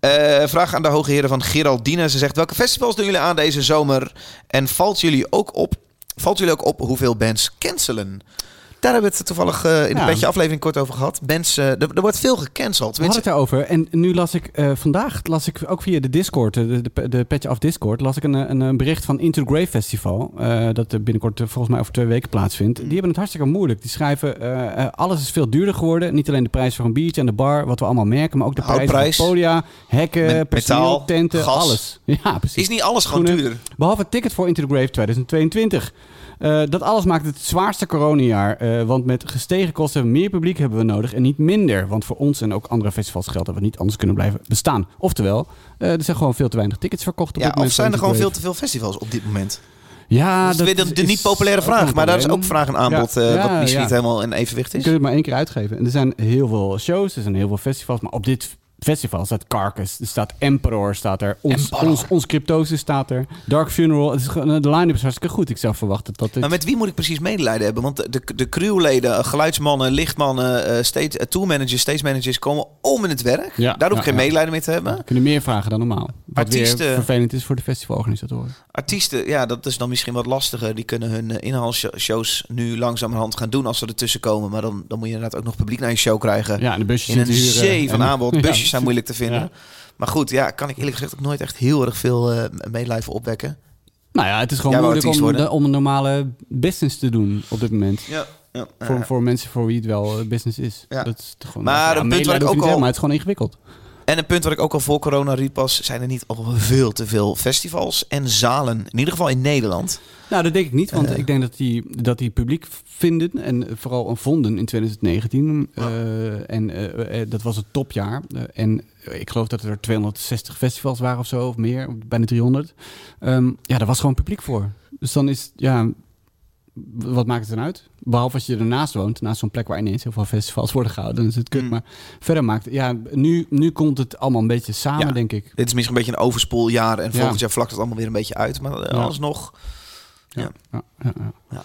Eh, vraag aan de hoge heren van Geraldine. Ze zegt, welke festivals doen jullie aan deze zomer? En valt jullie ook op, valt jullie ook op hoeveel bands cancelen? Daar hebben we het toevallig eh, in de
Ja.
petje aflevering kort over gehad. Bands, eh, er, er wordt veel gecanceld.
We hadden
Tenminste,
het daarover. En nu las ik eh, vandaag, las ik ook via de Discord, eh, de, de, de Petje Af Discord, las ik een, eh, een, eh, bericht van Into the Grave Festival. eh, dat er binnenkort eh, volgens mij over twee weken plaatsvindt.
Mm.
Die hebben het hartstikke moeilijk. Die schrijven, eh, eh, alles is veel duurder geworden. Niet alleen de prijs voor een biertje en de bar, wat we allemaal merken, maar ook de prijs van
Houtprijs.
podia, hekken,
Me-
personeel,
metaal,
tenten,
gas.
alles. Ja, precies.
is niet alles gewoon
Groene-
duurder.
Behalve het ticket voor Into the Grave 2022. Eh, dat alles maakt het zwaarste coronajaar. eh, want met gestegen kosten hebben we meer publiek hebben we nodig en niet minder. Want voor ons en ook andere festivals geldt dat we niet anders kunnen blijven bestaan. Oftewel, eh, er zijn gewoon veel te weinig tickets verkocht. Op
Ja,
dit moment
of zijn er
voor
gewoon veel
Into
te veel festivals op dit moment?
the Grave. Ja,
dat is weer de, de niet populaire
ook
vraag.
een
Maar daar is ook
probleem.
vraag en aanbod
Ja,
eh,
ja,
wat misschien
ja.
niet helemaal in evenwicht
Je
is.
kunt het maar één keer uitgeven. En er zijn heel veel shows, er zijn heel veel festivals. Maar op dit festival staat Carcass, er staat Emperor, staat er. Ons, ons, ons Cryptosis staat er. Dark Funeral. Het is, gewoon- de line-up is hartstikke goed. Ik zou verwachten dat dit...
Maar met wie moet ik precies medelijden hebben? Want de, de crewleden, geluidsmannen, lichtmannen, eh stage, eh, tourmanagers, stage managers komen om in het werk.
Ja,
Daar hoef ik
ja,
geen
ja.
medelijden mee te hebben.
We kunnen meer vragen dan normaal. Wat
Artiesten.
weer vervelend is voor de festivalorganisatoren.
Artiesten, ja, dat is dan misschien wat lastiger. Die kunnen hun eh, inhaalshows nu langzamerhand gaan doen als ze ertussen komen. Maar dan, dan moet je inderdaad ook nog publiek naar je show krijgen.
Ja, en de busjes
in een
zitten hier, eh,
zee van
en-
aanbod.
Ja.
Busjes zijn moeilijk te vinden.
Ja.
Maar goed, ja, kan ik eerlijk gezegd ook nooit echt heel erg veel eh medelijden opwekken.
Nou ja, het is gewoon
Jij wou
moeilijk om,
artiest worden.
de- om een normale business te doen op dit moment.
Ja, ja.
Voor, voor mensen voor wie het wel eh, business is.
Ja.
Dat is toch gewoon,
Maar een punt waar ik
medelijden
ook
hoef je niet
al-
te hebben, Maar het is gewoon ingewikkeld.
En een punt wat ik ook al voor corona riep was... zijn er niet al veel te veel festivals en zalen? In ieder geval in Nederland.
Nou, dat denk ik niet,
Eh.
want ik denk dat die, dat die publiek vinden en vooral een vonden in 2019. eh, en eh, eh, dat was het topjaar. Eh, en ik geloof dat er 260 festivals waren of zo, of meer, bijna 300. Ehm, ja, daar was gewoon publiek voor. Dus dan is, ja, w- wat maakt het dan uit? Behalve als je ernaast woont, naast zo'n plek waar ineens heel veel festivals worden gehouden, dan is het kut.
Mm.
Maar verder maakt, ja, nu, nu komt het allemaal een beetje samen,
Ja.
denk ik.
Dit is misschien een beetje een overspoeljaar... en
Ja.
volgend jaar vlakt het allemaal weer een beetje uit. Maar eh,
Ja.
alsnog...
Ja, ja, ja.
Ja.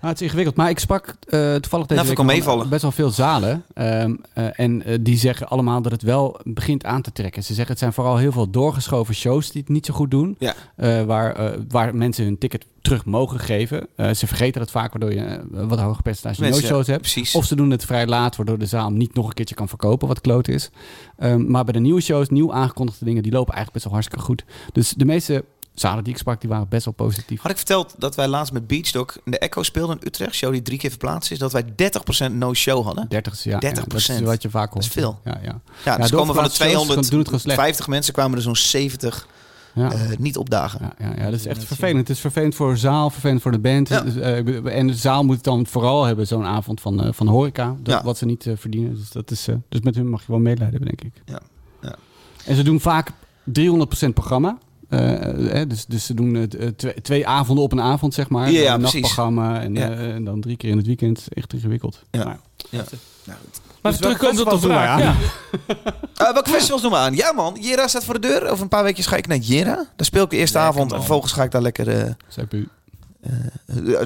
Nou, het is ingewikkeld, maar ik sprak eh, toevallig deze
Nou,
week
kan
wel-
meevallen.
best wel veel zalen. ehm, eh, en eh, die zeggen allemaal dat het wel begint aan te trekken. Ze zeggen het zijn vooral heel veel doorgeschoven shows die het niet zo goed doen.
Ja.
Eh, waar, eh, waar mensen hun ticket terug mogen geven. Eh, ze vergeten dat vaak, waardoor je eh, wat hoger percentage
Mensen,
no-shows hebt.
Precies.
Of ze doen het vrij laat, waardoor de zaal hem niet nog een keertje kan verkopen, wat kloot is. Ehm, maar bij de nieuwe shows, nieuw aangekondigde dingen, die lopen eigenlijk best wel hartstikke goed. Dus de meeste zalen die ik sprak, die waren best wel positief.
Had ik verteld dat wij laatst met Beachdog in de Echo speelden in Utrecht, show die drie keer verplaatst is, dat wij 30% no-show hadden?
30 is- ja,
30%.
ja, dat is wat je vaak hoort.
Dat is veel.
Ja, ja.
Ja, dus
door
komen van de
verplaatste shows doen het gewoon slecht.
250 mensen kwamen er zo'n 70
Ja.
eh, niet opdagen.
Ja, ja, ja, dat is echt vervelend. Het is vervelend voor de zaal, vervelend voor de band.
Ja.
Dus, eh, ik bedoel, en de zaal moet het dan vooral hebben, zo'n avond van, eh, van horeca. Dat,
Ja.
Wat ze niet eh, verdienen. Dus, dat is, eh, dus met hun mag je wel medelijden, hebben, denk ik.
Ja, ja.
En ze doen vaak 300% programma. Eh, eh, dus, dus ze doen het, eh, twee, twee avonden op een avond, zeg maar.
Ja, ja,
een
precies.
nachtprogramma en,
Ja.
eh, en dan drie keer in het weekend. Echt ingewikkeld.
Ja.
Maar,
Maar
Dus
even terugkomen
welke
tot de
festivals
vraag.
doen
Ja.
Eh, welke festivals doen we aan? Ja man, Jera staat voor de deur. Over een paar weekjes ga ik naar Jera. Daar speel ik de eerste avond en vervolgens ga ik daar lekker eh,
zei Pu.
eh,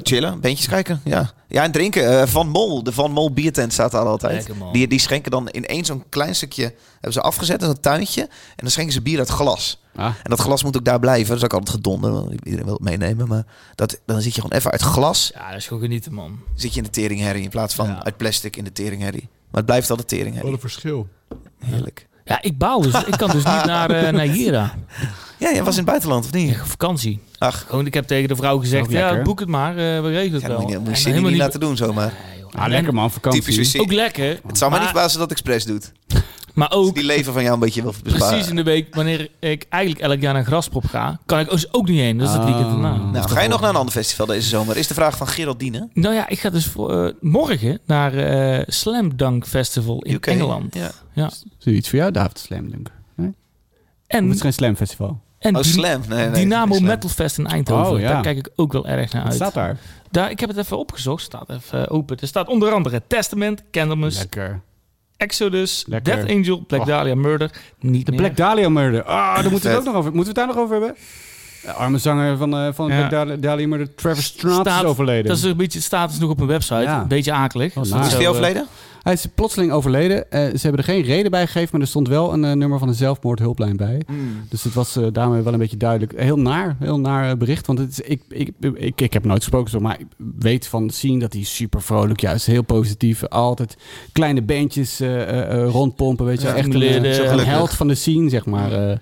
chillen, bandjes kijken. Ja, ja en drinken. Eh, Van Mol, de Van Mol biertent staat daar altijd.
Lekker, man.
Die, die schenken dan in één zo'n klein stukje, hebben ze afgezet in een tuintje. En dan schenken ze bier uit glas.
Ah.
En dat glas moet ook daar blijven. dus Dat is ook altijd gedonder, want iedereen wil het meenemen. Maar dat, dan zit je gewoon even uit glas,
Ja, Ah, dat is gewoon genieten, man.
zit je in de teringherrie. In plaats van
Ja.
uit plastic in de teringherrie. Maar het blijft altijd teringherrie.
verschil.
Heerlijk.
Ja, ik baal dus. Ik kan dus niet naar eh naar Jera.
Ja, jij was in het buitenland, of niet?
Ja, Vakantie.
Ach,
Gewoon, ik heb tegen de vrouw gezegd,
Ook
ja,
lekker.
boek het maar. eh, we regelen het
ja, dan
wel.
moet je, moet
En
je
dan
Cindy
helemaal
niet
niet-
laten doen zomaar.
Nee, joh.
Ah, lekker man, vakantie.
Typisch weer Cindy.
Ook lekker.
Het zou me
maar-
niet verbazen dat expres doet.
Maar ook,
Die leven van jou een beetje wil besparen.
precies in de week, wanneer ik eigenlijk elk jaar naar Graspop ga, kan ik dus ook niet heen. Dat is het
Ah.
weekend daarna.
Nou,
Nou, ga je nog naar een ander festival deze zomer? Is de vraag van Geraldine.
Nou ja, ik ga dus voor, eh, morgen naar eh Slam Dunk Festival in
UK.
Engeland.
Ja.
Zoiets voor jou, David Slam, denk ik. Het
En,
is geen Slam Festival.
en
Oh,
Dyn-
Slam. Nee, nee,
Dynamo
geen Slam.
Metal Fest in Eindhoven.
Oh, ja.
Daar kijk ik ook wel erg naar
Wat
uit.
staat daar?
Daar, ik heb het even opgezocht. Staat even open. Er staat onder andere Testament, Candlemas,
Lekker.
Exodus,
Lekker.
Death Angel, Black
Och.
Dahlia Murder. Niet
De
meer.
Black Dahlia Murder. Ah, daar moeten we
Vet.
het ook nog over. Moeten we het daar nog over hebben? De arme zanger van, eh van
Ja.
Black Dahlia, Dahlia Murder, Trevor Straat, is
Staat-
overleden.
Dat is een beetje, het staat dus nog op een website.
Ja.
Een beetje akelig.
Oh,
Dus
nou.
dat
Is
zo,
die
eh,
overleden?
Hij is plotseling overleden. Eh, ze hebben er geen reden bij gegeven, maar er stond wel een eh, nummer van de zelfmoordhulplijn bij.
Hmm.
Dus het was eh, daarmee wel een beetje duidelijk. Heel naar, heel naar eh, bericht. Want het is, ik, ik, ik, ik heb nooit gesproken, zo, maar ik weet van zien dat hij super vrolijk, juist heel positief. Altijd kleine bandjes eh, eh, eh, rondpompen, weet je.
Ja,
wel. echt een,
stimuleren,
eh,
ja.
een held van de scene, zeg maar. eh.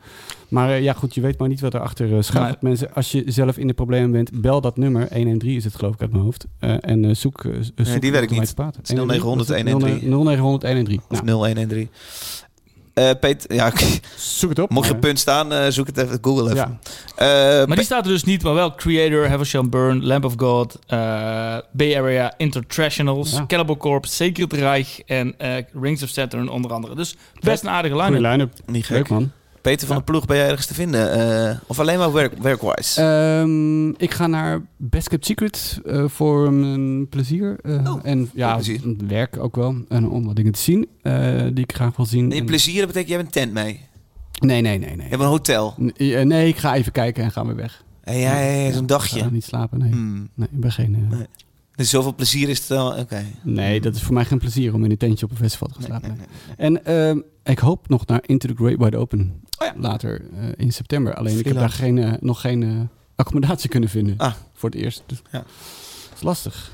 maar eh, ja, goed, je weet maar niet wat erachter achter schuilt.
Nee.
Mensen, als je zelf in de problemen bent, bel dat nummer. 113 is het geloof ik uit mijn hoofd. Eh, en eh, zoek, eh, zoek...
die
iemand
werkt
om
niet.
mee te praten.
is 0900 113.
0900 113.
Of
Nou,
0113. Eh Peter, ja,
zoek het op.
mocht je
Maar-
een punt staan, eh, zoek het even, google even.
Ja.
Eh,
Maar die
Pe-
staat er dus niet, maar wel Creator, Havisham Burn, Lamp of God, eh, Bay Area, Intertrashionals,
Ja.
Cannibal Corpse, Sacred Reich en eh, Rings of Saturn onder andere. Dus best een aardige
Goeie
line
line-up.
niet gek.
Leuk man.
Peter van de Ploeg, ben jij ergens te vinden? Eh, of alleen maar werk, werkwise?
Ehm, ik ga naar Best Kept Secret eh, voor mijn plezier. eh,
Oh,
en ja,
plezier.
m- werk ook wel. En om wat dingen te zien eh, die ik graag wil zien.
nee,
En-
plezier, dat betekent, jij hebt een tent mee.
nee, nee, nee.
Je
Nee.
hebt een hotel.
N- eh, nee, ik ga even kijken en ga weer weg.
Eh, ja, ja, ja, zo'n
Ik ga
dagje.
niet slapen, nee.
Hmm.
Nee, ik ben geen, eh,
Nee. Dus zoveel plezier is het dan... Oké.
nee, dat is voor mij geen plezier om in een tentje op een festival te gaan
Nee,
slapen.
nee,
nee.
nee.
En ehm, ik hoop nog naar Into the Great Wide Open.
Oh ja.
Later eh, in september. Alleen ik heb daar
Freelance.
geen, eh, nog geen eh, accommodatie kunnen vinden.
Ah.
Voor het eerst. Dus,
Ja.
Dat is lastig.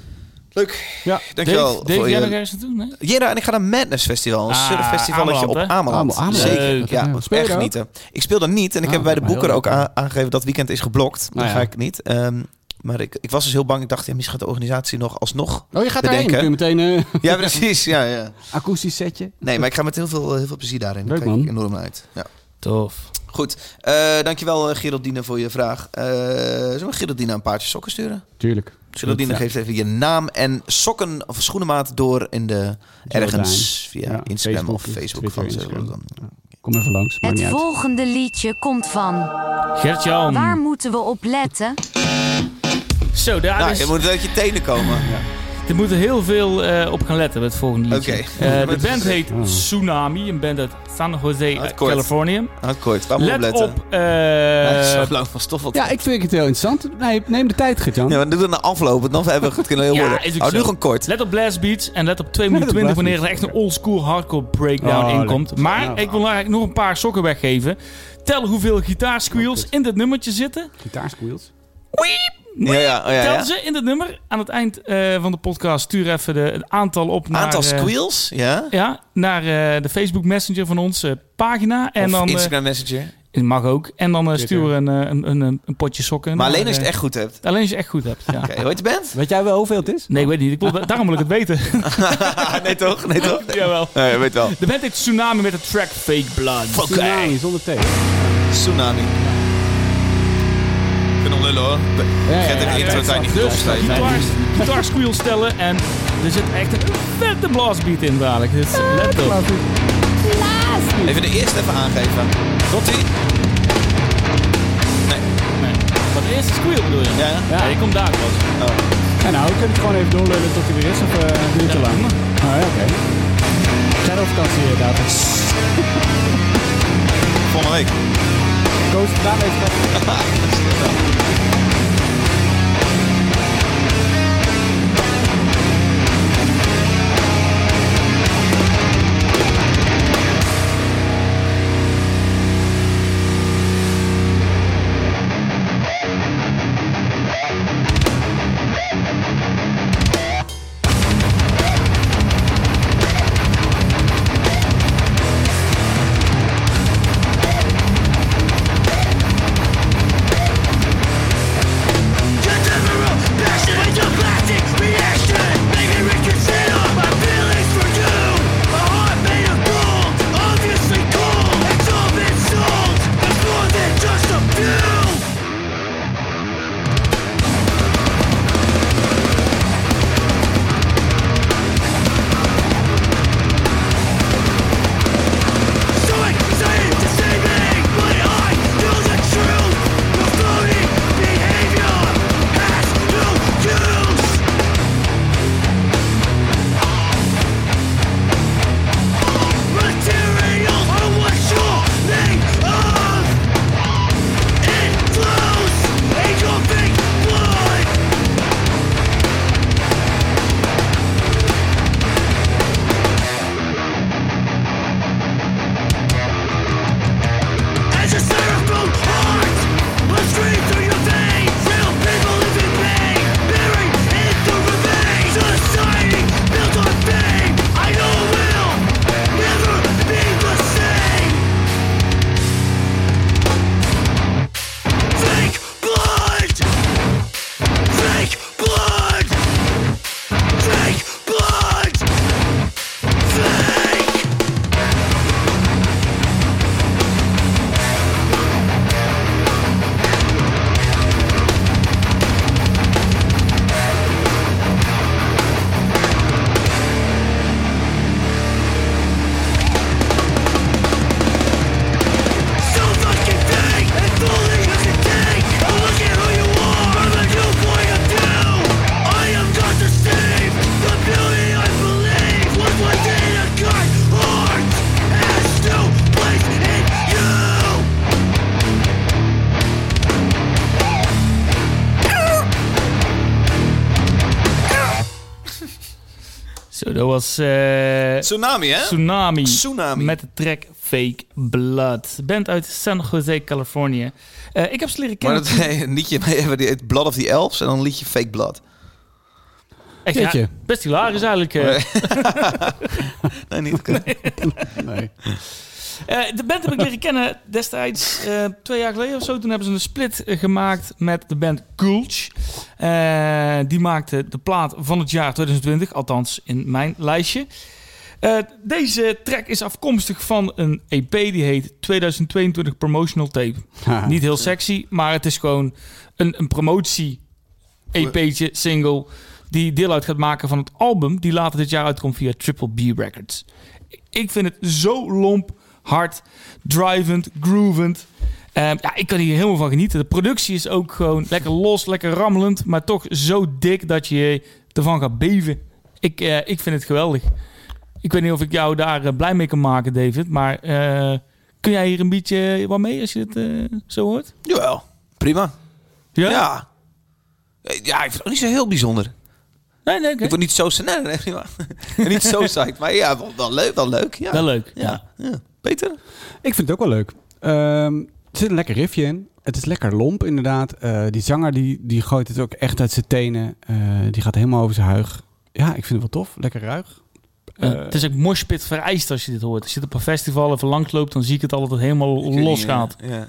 Leuk.
Ja.
Dankjewel
Dave, Dave
voor
jij nog
je...
ergens naartoe? Nee?
Jera, en ik ga naar Madness Festival. Een
Ah,
surffestivalletje op
Ameland, hè?
Ameland.
Ameland, Ameland.
Zeker,
Leuk.
ja.
Speel je
echt
daar ook?
genieten. Ik speel daar niet. En ik
Ah,
heb bij de
maar heel
boeker ook
leuk.
a- aangegeven dat weekend is geblokt. Dan
Nou ja.
ga ik niet. Ehm, maar ik, ik was dus heel bang. Ik dacht, ja, misschien gaat de organisatie nog alsnog.
Oh, je gaat
Bedenken.
daarheen. Kun je meteen eh, een
Ja, precies. Ja, ja.
akoestisch setje.
Nee, maar ik ga met heel veel, heel veel plezier daarin. Daar
Leuk,
kijk ik
man.
enorm naar uit. Ja.
Tof.
Goed. Eh, dankjewel, eh, Geraldine, voor je vraag. Eh zullen we Geraldine een paardje sokken sturen?
Tuurlijk.
Geraldine
Ja.
geeft even je naam en sokken of schoenenmaat door in de... Ergens via
Ja,
Instagram
Facebook,
of Facebook.
Twitter,
van ze-
Instagram.
dan-
Kom even langs. Maakt niet
Het
uit. Mm.
volgende liedje komt van. Waar
Gert-Jan.
moeten we op letten?
Zo, daar
Nou,
is...
je moet uit je tenen komen.
Er moeten heel veel eh, op gaan letten bij het volgende liedje.
Oké.
Eh, de band heet
Ah.
Tsunami, een band uit San Jose, uit
kort.
Californië.
Houd Ah, kort, waar moet je op
Let
letten?
op, eh,
Hij is zo lang van stoffel.
Ja, ik vind het heel interessant. Nee, neem de tijd, Gert-Jan.
Ja, maar doe dan aflopen, dan hebben we het kunnen heel
Ja,
worden.
is ook
Hou
zo.
nu gewoon kort.
let op Blast Beats en let op 2 minuten
Let op
20
Blast
wanneer er
Beats.
echt een oldschool hardcore breakdown
Oh,
inkomt.
lekker.
Maar
Nou,
ik wil eigenlijk nog een paar sokken weggeven. Tel hoeveel gitaarsqueals in dit nummertje zitten.
Gitaarsqueals.
Ja, ja, oh, ja,
Tel
ja.
ze in dit nummer. Aan het eind eh, van de podcast stuur even de, een aantal op naar...
Aantal
eh,
squeals, ja.
ja, naar eh, de Facebook Messenger van onze pagina. En
of
dan, eh,
Instagram Messenger.
Het mag ook. En dan eh, sturen we een, eh, een, een, een, een potje sokken.
Maar alleen als je
eh,
het echt goed hebt. Oké,
Alleen als je het echt goed hebt, ja.
hoe heet je band?
Weet jij wel hoeveel het is?
Nee, ik weet niet. Ik wil, daarom wil ik het weten.
nee toch? Nee toch? Nee.
Jawel.
Nee, weet wel.
De band heet Tsunami met de track Fake Blood.
Oké.
Tsunami, zonder thee.
Tsunami. Kunnen lullen hoor.
ja,
Gert heeft
ja,
intro
ja,
tijd niet
ja,
Dus
goed opgeschreven.
Guitars, guitar squeal stellen en er zit echt een vette blastbeat in dadelijk. Dus let op.
Even de eerste even aangeven. Komt ie? Nee.
Nee. Van de eerste squeal bedoel je?
Ja.
Ja, die komt daar pas.
En nou, we kunnen het gewoon even doorlullen tot hij weer is, of eh duurt te lang? Ah, ja, oké. Ga je op vakantie, eh, David.
Volgende week.
Koos, daar even.
Use. Materials are what you're made of. It flows in your big blood. As a styrofoam heart will stream through your veins. Real people live in pain, buried in the remains. Society built on fame. I know it will never be the same. Fake blood. Fake blood. Fake blood. Fake. So fucking fake and fully as it take. I look at who you are from a new point of view. I am God to save the beauty I believe was once in a kind heart has no place in you.
Zo, dat was eh,
Tsunami, hè?
Tsunami.
Tsunami.
Met de track Fake Blood. Band uit San Jose, Californië. Eh, ik heb ze leren
Maar
kennen.
dat een liedje mee hebben, die heet Blood of the Elves en dan een liedje Fake Blood.
Echt, ja,
Jeetje.
best hilarisch eigenlijk. eh.
Nee, niet. oké.
Nee.
Eh, de band heb ik leren kennen destijds, eh, twee jaar geleden of zo. Toen hebben ze een split eh, gemaakt met de band Gulch. Eh, die maakte de plaat van het jaar 2020, althans in mijn lijstje. Eh, deze track is afkomstig van een EP die heet 2022 Promotional Tape.
Haha.
Niet heel sexy, maar het is gewoon een, een promotie EP'tje, single, die deel uit gaat maken van het album die later dit jaar uitkomt via Triple B Records. Ik vind het zo lomp, hard, drivend, groovend. Ehm, ja, ik kan hier helemaal van genieten. De productie is ook gewoon lekker los, lekker rammelend, maar toch zo dik dat je ervan gaat beven. Ik, eh, ik vind het geweldig. Ik weet niet of ik jou daar eh, blij mee kan maken, David. Maar eh, kun jij hier een beetje wat mee als je het eh, zo hoort?
Jawel. Prima.
Ja?
Ja. Eh, Ja, ik vind het ook niet zo heel bijzonder.
Nee, nee, oké.
Ik word niet zo... Nee, nee, nee, prima. niet zo psyched. Maar ja, wel, wel leuk. Wel leuk. Ja.
Wel leuk.
Ja. ja. Peter?
Ik vind het ook wel leuk. Ehm, er zit een lekker riffje in. Het is lekker lomp, inderdaad. Eh, die zanger die, die gooit het ook echt uit zijn tenen. Eh, die gaat helemaal over zijn huig. Ja, ik vind het wel tof. Lekker ruig.
Eh,
Eh,
het is ook moshpit vereist als je dit hoort. Als je het op een festival even langs loopt, dan zie ik het altijd dat het helemaal losgaat.
Ja.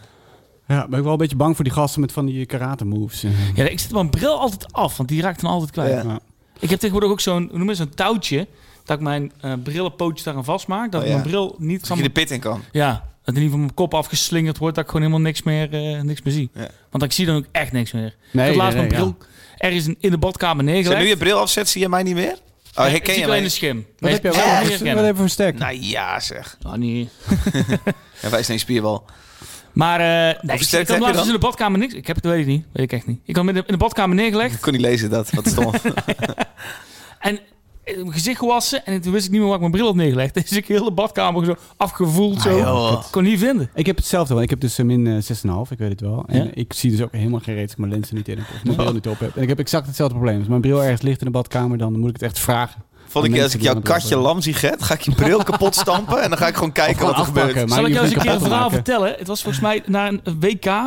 Ja, ben ik wel een beetje bang voor die gasten met van die karate moves.
Ja, ik zet mijn bril altijd af, want die raakt dan altijd kwijt.
Ja.
Ik heb tegenwoordig ook zo'n, hoe noem je zo'n touwtje, dat ik mijn eh brillenpootje daaraan vastmaak, dat
Oh,
ik
ja.
mijn bril niet
Dat
van...
je de pit in kan.
Ja, dat in ieder geval mijn kop afgeslingerd wordt, dat ik gewoon helemaal niks meer, eh, niks meer zie.
Ja.
Want ik zie dan ook echt niks meer. ik
Nee,
heb laatst
nee,
mijn
nee,
bril ergens in, in de badkamer
Als je
neergelegd.
nu je bril afzet, zie je mij niet meer? Oh,
Nee,
herken
ik zie
je
alleen
mij?
een schim.
Wat
Nee,
heb je
ik
wel?
kan
Wat
het niet
heb je
herkennen.
voor stek?
Nou ja, zeg.
Oh, nee.
Ja, wij zijn spierbal.
Maar eh nee, ik,
sterk heb
ik heb
je
laatst
dan?
dus in de badkamer niks. Ik heb het, weet ik niet. Weet ik echt niet. Ik had hem in de, in de badkamer neergelegd.
Ik kon niet lezen dat. Wat stom. Mhm.
En eh, mijn gezicht gewassen. En toen wist ik niet meer waar ik mijn bril had neergelegd. Dus ik heel de badkamer zo afgevoeld. zo.
Ah, joh.
Ik kon niet vinden.
Ik heb hetzelfde, want ik heb dus eh, min eh, 6,5, ik weet het wel. En
Ja?
ik zie dus ook helemaal geen reet als ik mijn lenzen niet in heb of mijn bril niet op heb. En ik heb exact hetzelfde probleem. Als mijn bril ergens ligt in de badkamer, dan moet ik het echt vragen.
Volgende keer als ik jouw
Mensen die
katje
aan het
lam zie get, ga ik je bril kapot stampen en dan ga ik gewoon kijken
Gewoon
wat er
afpakken,
gebeurt.
Maar
Zal
je
ik jou eens
hoeft
een keer
niet
een
kapot te
verhaal
maken.
vertellen? Het was volgens mij naar een eh,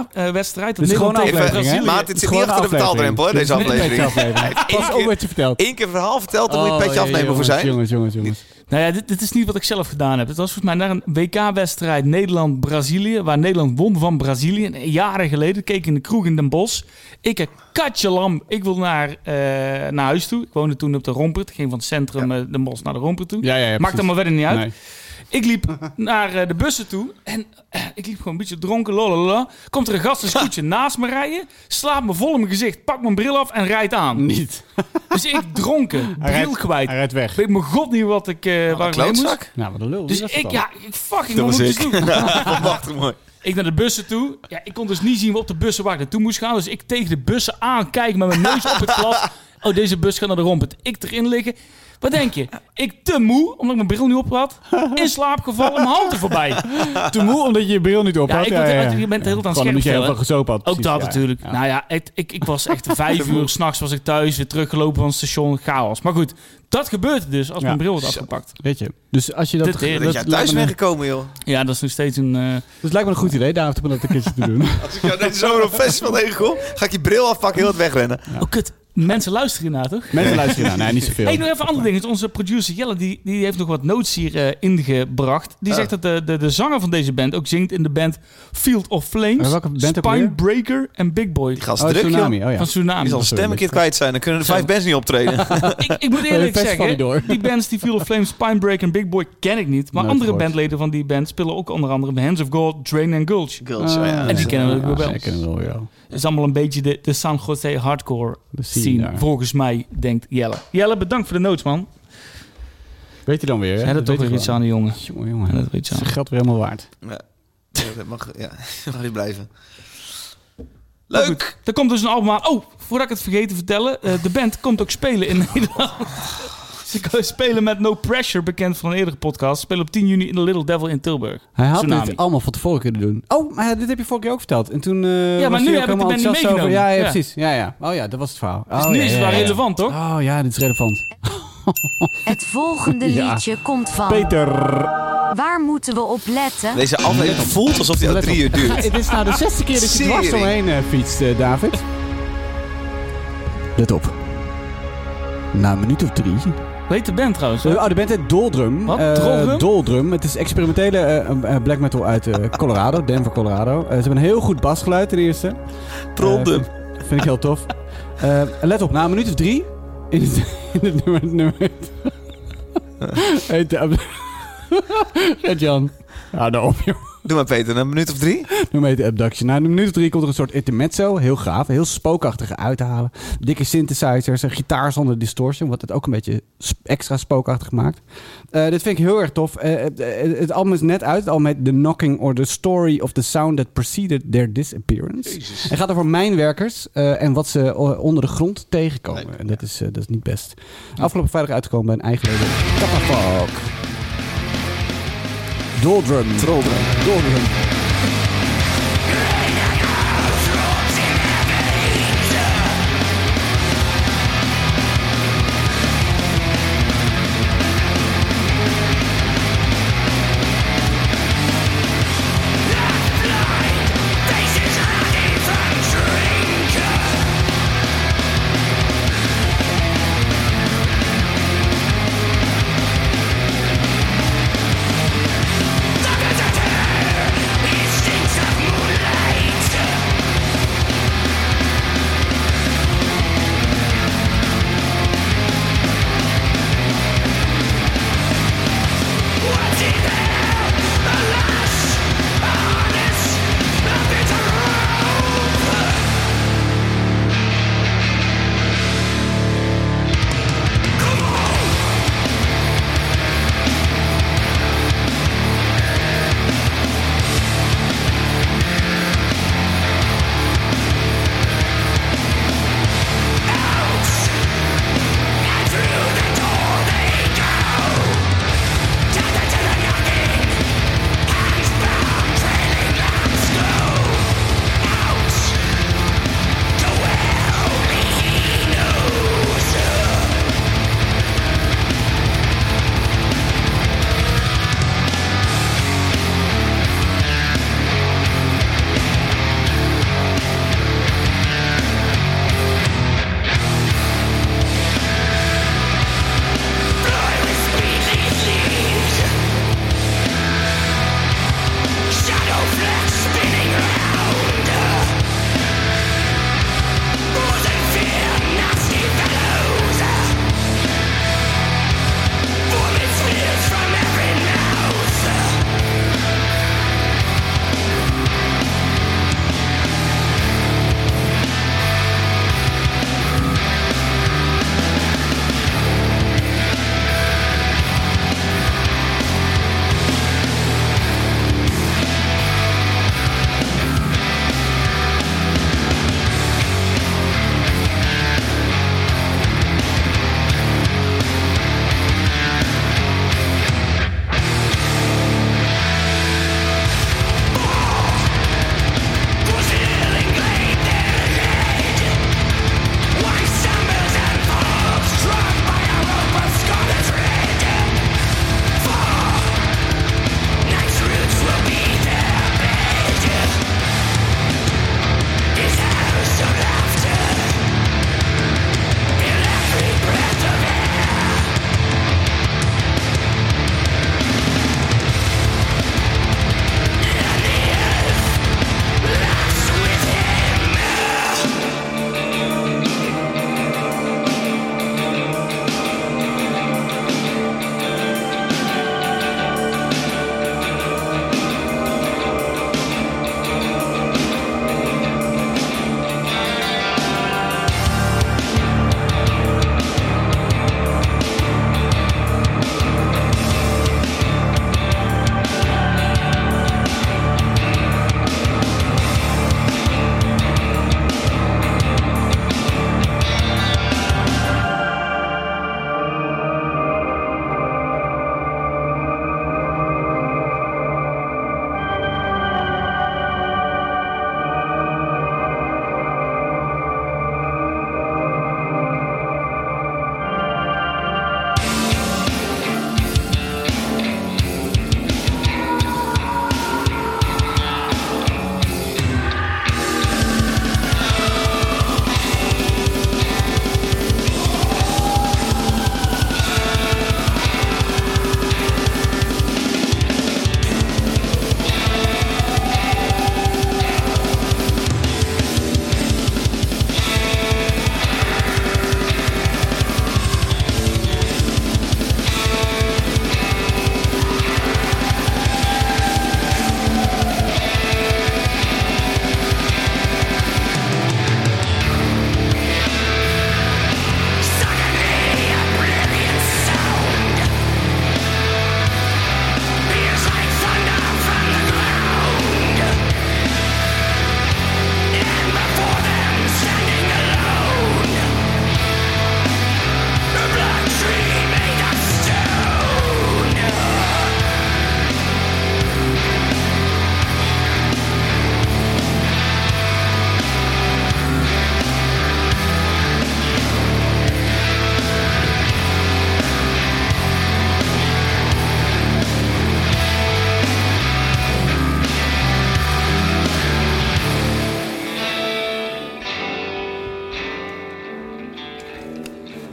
WK-wedstrijd.
Dit is gewoon een
Even,
aflevering, hè?
maat, dit zit niet achter de betaalrempel, hè, deze
Dit is een
aflevering.
aflevering. Pas
Eén keer-
ook wat je vertelt.
Eén keer verhaal verteld, dan moet je het petje
Oh,
afnemen voor
jongens,
zijn.
Jongens, jongens, jongens.
Nou ja, dit, dit is niet wat ik zelf gedaan heb. Het was volgens mij naar een WK-wedstrijd Nederland-Brazilië. Waar Nederland won van Brazilië. En jaren geleden keek ik in de kroeg in Den Bosch. Ik heb katje lam. Ik wil naar, eh, naar huis toe. Ik woonde toen op de Rompert. Ik ging van het centrum eh, Den Bosch naar de Rompert toe.
Ja, ja, ja.
Maakt
precies.
allemaal verder niet uit.
Nee.
Ik liep naar eh, de bussen toe en eh, ik liep gewoon een beetje dronken, lalala. Komt er een gast een scootje naast me rijden, slaat me vol in mijn gezicht, pakt mijn bril af en rijdt aan.
Niet.
Dus ik dronken,
Hij
bril
rijdt-
kwijt.
Hij rijdt weg.
Weet mijn god niet wat ik, eh waar ik mee moest.
Klootzak?
Nou, wat een lul.
Dus
die was
ik,
het
ja, ik fucking,
Dat was
wat moet ik dus
ik.
doen?
Prachtig mooi.
Ik naar de bussen toe. Ja, ik kon dus niet zien op de bussen waar ik naartoe moest gaan. Dus ik tegen de bussen aan kijk met mijn neus op het glas. Oh, deze bus gaat naar de rompet. Ik erin liggen. Wat denk je? Ik te moe, omdat ik mijn bril niet op had. In slaap gevallen, mijn hand er voorbij.
al. Te moe omdat je je bril niet op
Ja,
had.
ik ben- je bent de hele
Gewoon
tijd aan het
omdat je heel
scherpstellen.
veel gezopen had.
Ook
precies,
dat
ja.
natuurlijk.
Ja.
Nou ja, het- ik, ik was echt vijf uur s'nachts was ik thuis, weer teruggelopen van het station, chaos. Maar goed, dat gebeurt dus als
Ja.
mijn bril wordt afgepakt.
Weet je. Dus als je dat...
Dit- dit-
Dat jij thuis
lijkt me
bent
een-
gekomen, joh.
Ja, dat is nog steeds een... eh,
Dus lijkt me een goed idee, David, om dat een keertje te doen.
Als ik jou deze zomer op festival tegenkom, ga ik je bril afpakken en heel het wegrennen.
Oh kut, mensen luisteren hiernaar toch?
Mensen luisteren naar. Nee, niet zoveel.
Hey, nog even een ander ding. Onze producer Jelle die, die heeft nog wat notes hier eh, ingebracht.
Ah.
Die zegt dat de, de, de zanger van deze band ook zingt in de band Field of
Maar
Flames,
Eh, welke band ook alweer?
Spinebreaker en Big Boy
Die gast
Oh,
druk, joh.
tsunami. Oh ja.
van Tsunami.
Die zal stem een keer kwijt zijn, dan kunnen er
Zo.
vijf bands niet optreden.
ik, ik moet
Bij een
eerlijk
festival
zeggen,
niet door.
die bands die Field of Flames, Pinebreak en Big Boy ken ik niet. Maar
Nooit
andere
gehoord.
bandleden van die band spelen ook onder andere Hands of God, Drain and Gulch.
Girls, oh ja.
En die kennen we ook wel.
Ah, Ja, die kennen we wel, ja.
Het is allemaal een beetje de, de San Jose hardcore
De scene
scene,
daar.
volgens mij, denkt Jelle. Jelle, bedankt voor de notes, man.
Weet je dan weer, hè?
Hij had
Dat
toch
weet
weer
je
iets
wel.
aan de jongen.
Jongen,
Ja,
jongen.
dat weet je
is
wel.
geld weer helemaal waard.
Ja. Ja, dat mag, ja. mag niet blijven.
Maar
Leuk!
goed, Er komt dus een album aan. Oh, voordat ik het vergeet te vertellen. eh, de band komt ook spelen in Nederland. Ze gaan spelen met No Pressure, bekend van een eerdere podcast. Spelen op 10 juni in The Little Devil in Tilburg.
Hij had
Tsunami.
dit allemaal van tevoren kunnen doen. Oh, maar dit heb je vorige keer ook verteld. En toen eh
maar
was
nu
hij ook
heb ik de
helemaal
band niet
enthousiast over. Ja,
meegenomen.
ja,
Ja.
precies. Ja, ja. Oh ja, dat was het verhaal.
Dus
Oh,
nu
ja,
is het
ja,
wel
ja.
relevant, toch?
Oh ja, dit is relevant.
Het volgende
Ja.
liedje komt van.
Peter.
Waar moeten we op letten?
Deze aflevering voelt alsof die al drie uur duurt.
Dit is nou de zesde keer dat je dwars
Sering.
omheen eh, fietst, eh, David. Let op. Na een minuut of drie.
Weet de band trouwens. hè?
Oh, de band heet Doldrum.
Wat?
Eh,
Doldrum?
Doldrum. Het is experimentele eh, eh, black metal uit eh, Colorado, Denver, Colorado. Eh, ze hebben een heel goed basgeluid ten eerste. Eh,
Prondum.
Vind ik heel tof. Eh, let op, na een minuut of drie. In het, in het nummer. nummer heet de- Gert-Jan. Hou nou op, joh.
Doe maar Peter, een minuut of drie.
Noem heet de Abduction. Na een minuut of drie komt er een soort intermezzo. Heel gaaf. Heel spookachtige uithalen. Dikke synthesizers. En gitaar zonder distortion. Wat het ook een beetje sp- extra spookachtig maakt. Eh, dit vind ik heel erg tof. Eh, het- het- het album is net uit. Het album heet The Knocking or The Story of the Sound That Preceded Their Disappearance. Het gaat over mijnwerkers eh, en wat ze o- onder de grond tegenkomen. en dat is, eh, dat is niet best. Afgelopen vrijdag uitgekomen bij een eigen label. Katafalk. Doldrum. Doldrum.
It's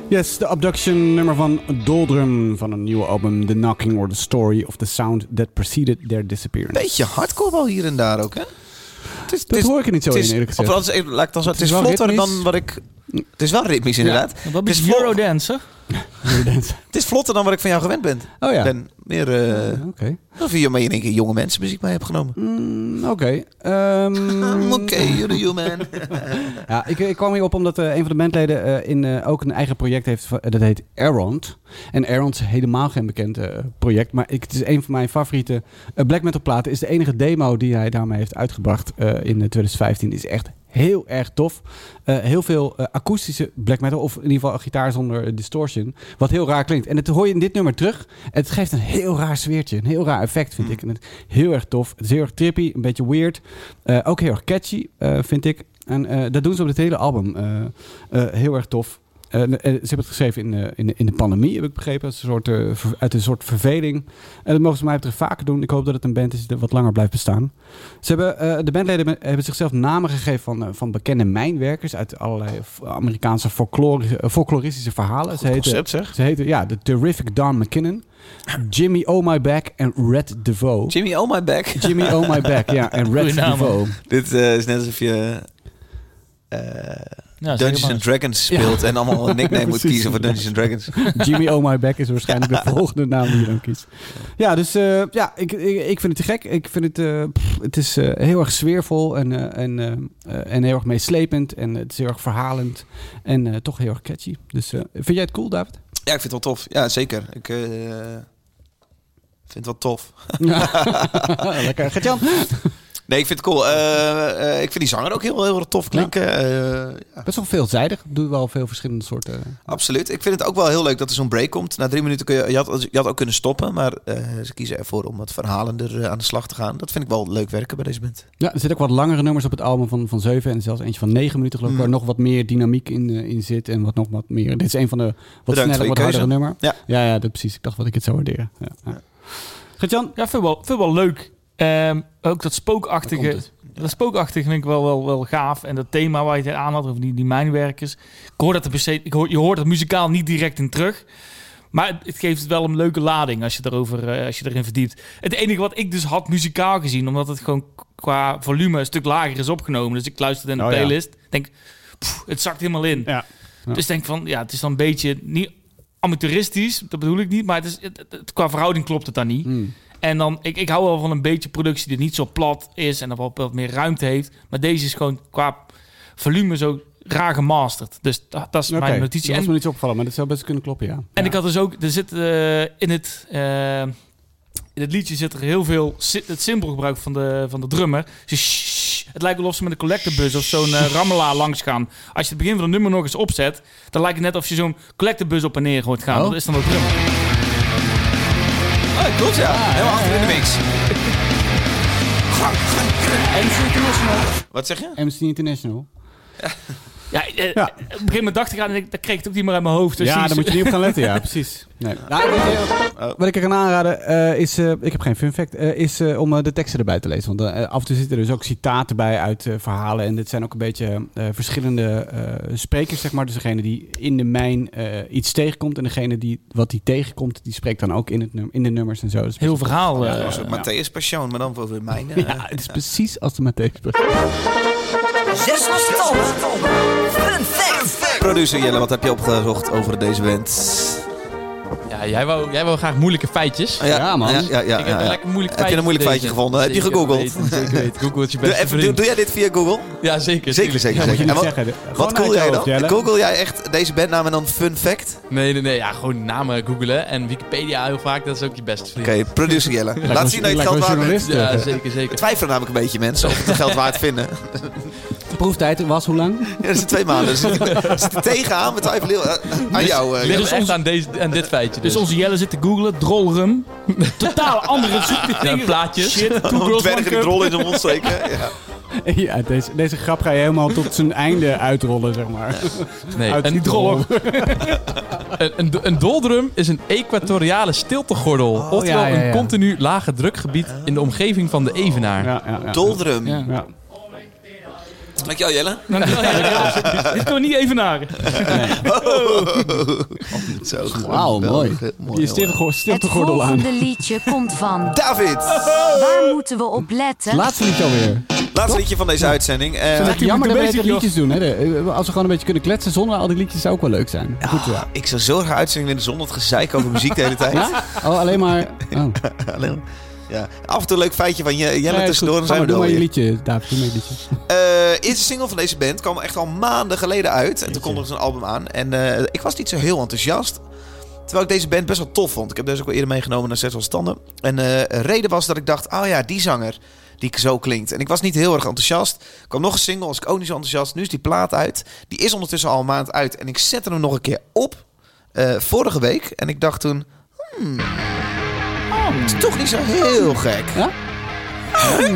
Yes, de abduction nummer van Doldrum van een nieuwe album The Knocking or the Story of the Sound That Preceded Their Disappearance.
Beetje hardcore wel hier en daar ook, hè? Het is,
Dat hoor ik er niet zo in, eerlijk gezegd.
Of althans, even- laat ik dan zo- het is,
is wel
vlotter
ritmisch.
dan wat ik... Het is wel ritmisch, inderdaad.
Dat
Het is
is
vlo-
Eurodance, hè?
Het is vlotter dan wat ik van jou gewend ben.
Oh ja.
Ik ben meer... eh
Oké.
of je maar in één keer jonge mensen muziek mee hebt genomen.
Mm, Oké. Ehm,
Oké, you're a human.
Ja, ik, ik kwam hierop omdat eh, een van de bandleden eh, in, eh, ook een eigen project heeft. van- eh, dat heet Errant. En Errant is helemaal geen bekend eh, project. Maar ik, het is een van mijn favoriete eh, black metal platen. is de enige demo die hij daarmee heeft uitgebracht eh, in eh, 2015. Is echt heel erg tof. Eh, heel veel eh, akoestische black metal. Of in ieder geval gitaar zonder eh, distortion. Wat heel raar klinkt. En dat hoor je in dit nummer terug. Het geeft een heel raar sfeertje. Een heel raar effect vind ik. En het, heel erg tof. Het is heel erg trippy. Een beetje weird. Eh, ook heel erg catchy eh, vind ik. En eh, dat doen ze op dit hele album. Eh, eh, heel erg tof. Eh, eh, ze hebben het geschreven in, de- in, de- in de pandemie, heb ik begrepen. Als een soort, eh, ver- uit een soort verveling. En dat mogen ze mij betreft vaker doen. Ik hoop dat het een band is die wat langer blijft bestaan. Ze hebben, eh, de bandleden hebben- hebben zichzelf namen gegeven van, eh, van bekende mijnwerkers... uit allerlei f- Amerikaanse folklore- eh, folkloristische verhalen. Ze heten,
Concept, zeg.
ze heten ja, de Terrific Don McKinnon, Jimmy Oh My Back en Red DeVoe.
Jimmy, oh my back.
Jimmy Oh My Back, ja, en Red
Goeie naam,
DeVoe.
Dit eh, is net alsof je... eh,
Ja, zeg
Dungeons
maar.
and Dragons speelt en allemaal een nickname moet
Precies.
kiezen voor Dungeons and Dragons.
Jimmy Oh My Back is waarschijnlijk de volgende naam die je dan kiest. Ja, dus eh, ja, ik, ik, ik vind het te gek. Ik vind het, eh, pff, het is eh, heel erg sfeervol en, eh, en, eh, eh, en heel erg meeslepend. En eh, het is heel erg verhalend en eh, toch heel erg catchy. Dus eh, vind jij het cool, David?
Ja, ik vind het wel tof. Ja, zeker. Ik eh, vind het wel tof.
Lekker. Gert-Jan?
Nee, ik vind het cool. Eh, eh, ik vind die zanger ook heel, heel erg tof klinken. Eh, ja,
Best wel veelzijdig. Doe wel veel verschillende soorten.
absoluut. Ik vind het ook wel heel leuk dat er zo'n break komt. Na drie minuten kun je... Je had, je had ook kunnen stoppen, maar eh, ze kiezen ervoor om wat verhalender eh, aan de slag te gaan. Dat vind ik wel leuk werken bij deze band.
Ja, er zitten ook wat langere nummers op het album van, van 7 en zelfs eentje van 9 minuten geloof ik,
Mm.
waar nog wat meer dynamiek in, eh, in zit en wat nog wat meer. Dit is een van de wat
voor
sneller,
je
wat hardere
keuze.
nummer.
Ja.
ja, ja, dat, precies. Ik dacht wat ik het zou waarderen. Ja, ja. Gert-Jan?
Ja, vind ik wel, vind ik wel leuk. Ehm, ook dat
Daar
spookachtige.
komt het.
Dat spookachtige vind ik wel, wel, wel gaaf. En dat thema waar je het aan had, over die, die mijnwerkers. Ik hoor dat er per se, ik hoor, je hoort het muzikaal niet direct in terug. Maar het, het geeft wel een leuke lading als je, erover, eh, als je erin verdiept. Het enige wat ik dus had muzikaal gezien, omdat het gewoon qua volume een stuk lager is opgenomen. Dus ik luisterde in de
Oh ja.
playlist. Denk, pff, het zakt helemaal in.
Ja. Ja.
Dus ik denk van, ja, het is dan een beetje niet amateuristisch, dat bedoel ik niet. Maar het is, het- het- het- qua verhouding klopt het dan niet. En dan, ik, ik hou wel van een beetje productie die niet zo plat is en dat wel wat meer ruimte heeft. Maar deze is gewoon qua volume zo raar gemasterd. Dus dat, dat is mijn notitie.
Dat was
En,
me niet zo opgevallen, maar dat zou best kunnen kloppen, ja.
en
Ja.
ik had dus ook, er zit eh, in het... eh, in het liedje zit er heel veel si- het symboolgebruik van de, van de drummer. Dus shh, het lijkt wel of ze met een collectebus of zo'n eh, rammelaar langs gaan. Als je het begin van het nummer nog eens opzet, dan lijkt het net of je zo'n collectebus op en neer hoort gaan.
Oh.
Dat is dan de drummer.
Ah, klopt, ja. Helemaal achter in de mix. Wat zeg je?
Amnesty International.
Ja, eh,
Ja.
op een gegeven moment dacht ik aan en ik, dat kreeg ik het ook niet meer uit mijn hoofd. Dus
ja,
die-
daar moet je niet op gaan letten, ja, precies. Nee. Nou, wat ik-
Oh.
wat ik er kan aanraden eh, is, eh, ik heb geen fun fact, eh, is eh, om eh, de teksten erbij te lezen. Want eh, af en toe zitten er dus ook citaten bij uit eh, verhalen. En dit zijn ook een beetje eh, verschillende eh, sprekers, zeg maar. Dus degene die in de mijn eh, iets tegenkomt en degene die wat die tegenkomt, die spreekt dan ook in, het num- in de nummers en zo. Dus
Heel verhaal. eh.
Dat was Matthäus Passion, maar dan voor mijn... eh,
ja, het is precies als de Matthäus.
Zes was stom. Fun fact.
Producer Jelle, wat heb je opgezocht over deze band?
Ja, jij wou, jij wou graag moeilijke feitjes.
Ah,
Ja, man.
Ja, ja, ja,
ik heb
ja.
een lekker moeilijk
Heb je een moeilijk feitje gevonden? Heb je
Zeker
gegoogeld?
weten, Zeker weten. Google is je
Doe,
beste
even, doe,
vriend.
doe jij dit via Google?
Ja, zeker.
Zeker,
tuurlijk.
zeker,
Moet je
zeker. En
niet
wat,
zeggen.
wat
Gewoon
google jij
uit je
dan?
hoofd, Jelle.
Google jij echt deze bandnaam en dan fun fact?
Nee, nee, nee. Ja, gewoon namen googelen. En Wikipedia heel vaak, dat is ook je beste vriend. Dus,
Oké, producer Jelle. Laat zien dat je het
Lijkt
geld
wel
waard bent.
journalist.
Ja,
eh.
zeker,
We
zeker.
twijfelen namelijk een beetje mensen of we het geld waard vinden.
De proeftijd was hoe lang?
Ja, dat is twee maanden. Dus we zitten tegenaan. We twijfelen heel- eh, aan jou. eh,
Dit
Jelle.
is dus echt aan, deze, aan dit feitje. Dus,
Dus onze Jelle zit te googlen, drolrum. Totaal andere zoekdingen.
Ja, plaatjes.
Shit, two girls, one
Dwergen die
cup.
drol in de mond steken. Ja.
Ja, deze, deze grap ga je helemaal tot zijn einde uitrollen, zeg maar.
nee,
Uit
een,
die drol.
Een, een, een doldrum is een equatoriale stiltegordel.
Oh,
oftewel
ja, ja, ja.
een continu lage drukgebied in de omgeving van de evenaar.
Ja, ja, ja.
Doldrum.
Ja.
Ja.
Dankjewel Jelle.
Nou, Dankjewel, Jelle. Dit kunnen we niet even naar.
Oh, Zo
Wauw, mooi. Je stilte-
Het
stiltegordel aan.
volgende liedje komt van...
David!
Waar moeten we op letten?
Laatste liedje alweer.
Laatste liedje van deze uitzending. Eh,
Vind het jammer dat we de liedjes doen. Hè? De- eh, Als we gewoon een beetje kunnen kletsen zonder al die liedjes zou ook wel leuk zijn. Goed, ja.
Ik zou zo graag uitzending willen zonder het gezeik over muziek de hele tijd.
Ja? Oh, alleen maar... Oh.
Alleen maar- ja. Af en toe een leuk feitje van je, Jelle
Nee, is goed.
tussendoor. Dan
Ga
zijn
maar,
we
doe
door
maar je
weer.
liedje, David. Doe maar je liedje.
Eh, eerste single van deze band kwam echt al maanden geleden uit. En toen kondigden ze een album aan. En eh, ik was niet zo heel enthousiast. Terwijl ik deze band best wel tof vond. Ik heb deze ook al eerder meegenomen naar Zes als Tanden. En eh reden was dat ik dacht, oh ja, die zanger die zo klinkt. En ik was niet heel erg enthousiast. Er kwam nog een single, was ik ook niet zo enthousiast. Nu is die plaat uit. Die is ondertussen al een maand uit. En ik zette hem nog een keer op eh, vorige week. En ik dacht toen, hmm, oh, het is toch niet zo heel gek.
Oh yeah,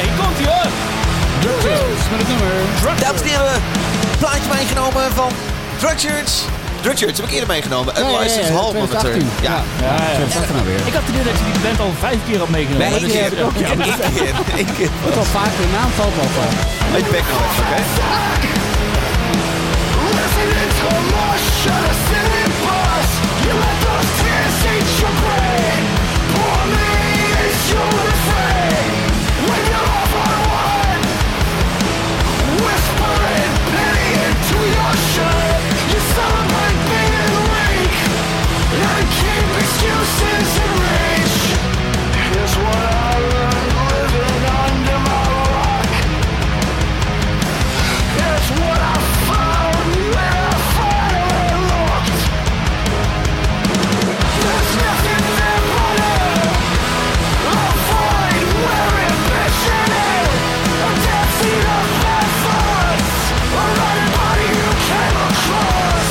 hier komt hij hoor.
met het nummer.
Dames en heren, plaatje meegenomen van Drudgers. Drudgers heb ik eerder meegenomen. Een licensed half monitor. Ja.
Ja, ja. Wat nou weer?
Ik had het idee dat je die band al vijf keer had meegenomen.
Nee, één
Dat is-
keer.
Ja,
Eén keer. Eén keer.
Wordt al vaak de naam valt wel van.
Uit je bek nog even, oké?
Excuses and rage. Here's what I learned living under my rock. It's what I found when I finally looked. There's nothing there but it. A void where ambition is. A death seat of bad thoughts. A running body you came across.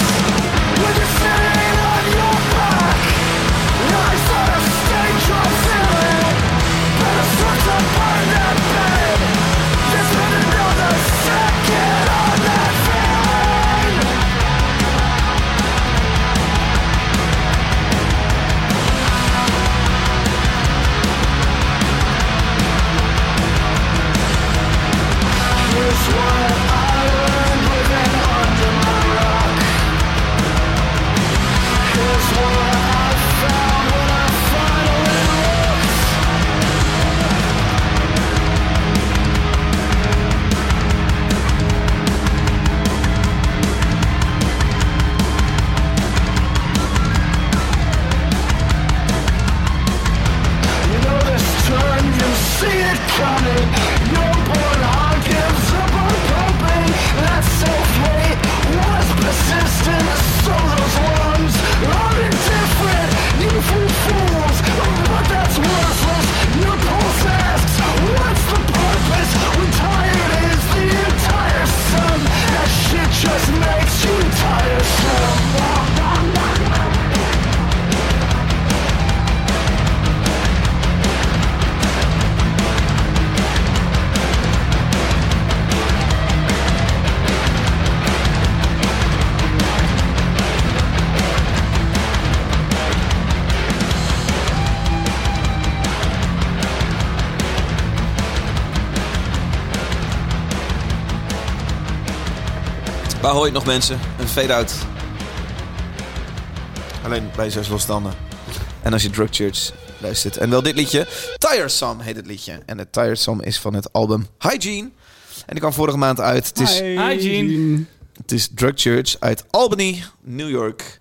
With the stain on your back. Lies on a stage you're feeling. Better start to burn that bed. There's been another second on that feeling. Here's what I learned living under my rock. Here's what I found when I finally looked. You know this turn, you see it coming. No one on gives up on hoping. That self-hate was persistent. So those lungs are indifferent. Evil fools, oh, but that's worthless. Your pulse asks, what's the purpose? When tired is the entire sum. That shit just makes you tiresome.
Waar hoor je het nog mensen? Een fade-out. Alleen bij zes losstanden. En als je Drug Church luistert. En wel dit liedje. Tiresome heet het liedje. En het Tiresome is van het album Hygiene. En die kwam vorige maand uit. Het is
Hi, Gene.
Het is Drug Church uit Albany, New York.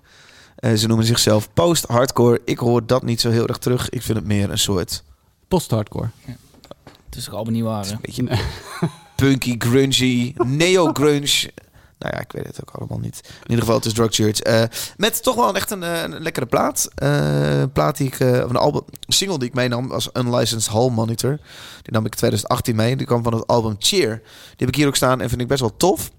Eh, ze noemen zichzelf post-hardcore. Ik hoor dat niet zo heel erg terug. Ik vind het meer een soort
Post-hardcore.
Het is toch allemaal niet waar, hè?
beetje punky, grungy, neo-grunge. Nou ja, ik weet het ook allemaal niet. In ieder geval, het is Drug Church. Eh, met toch wel een- echt een, eh, een lekkere plaat. Eh, een plaat die ik, eh, of een album, een single die ik meenam was Unlicensed Hall Monitor. Die nam ik in 2018 mee. Die kwam van het album Cheer. Die heb ik hier ook staan en vind ik best wel tof.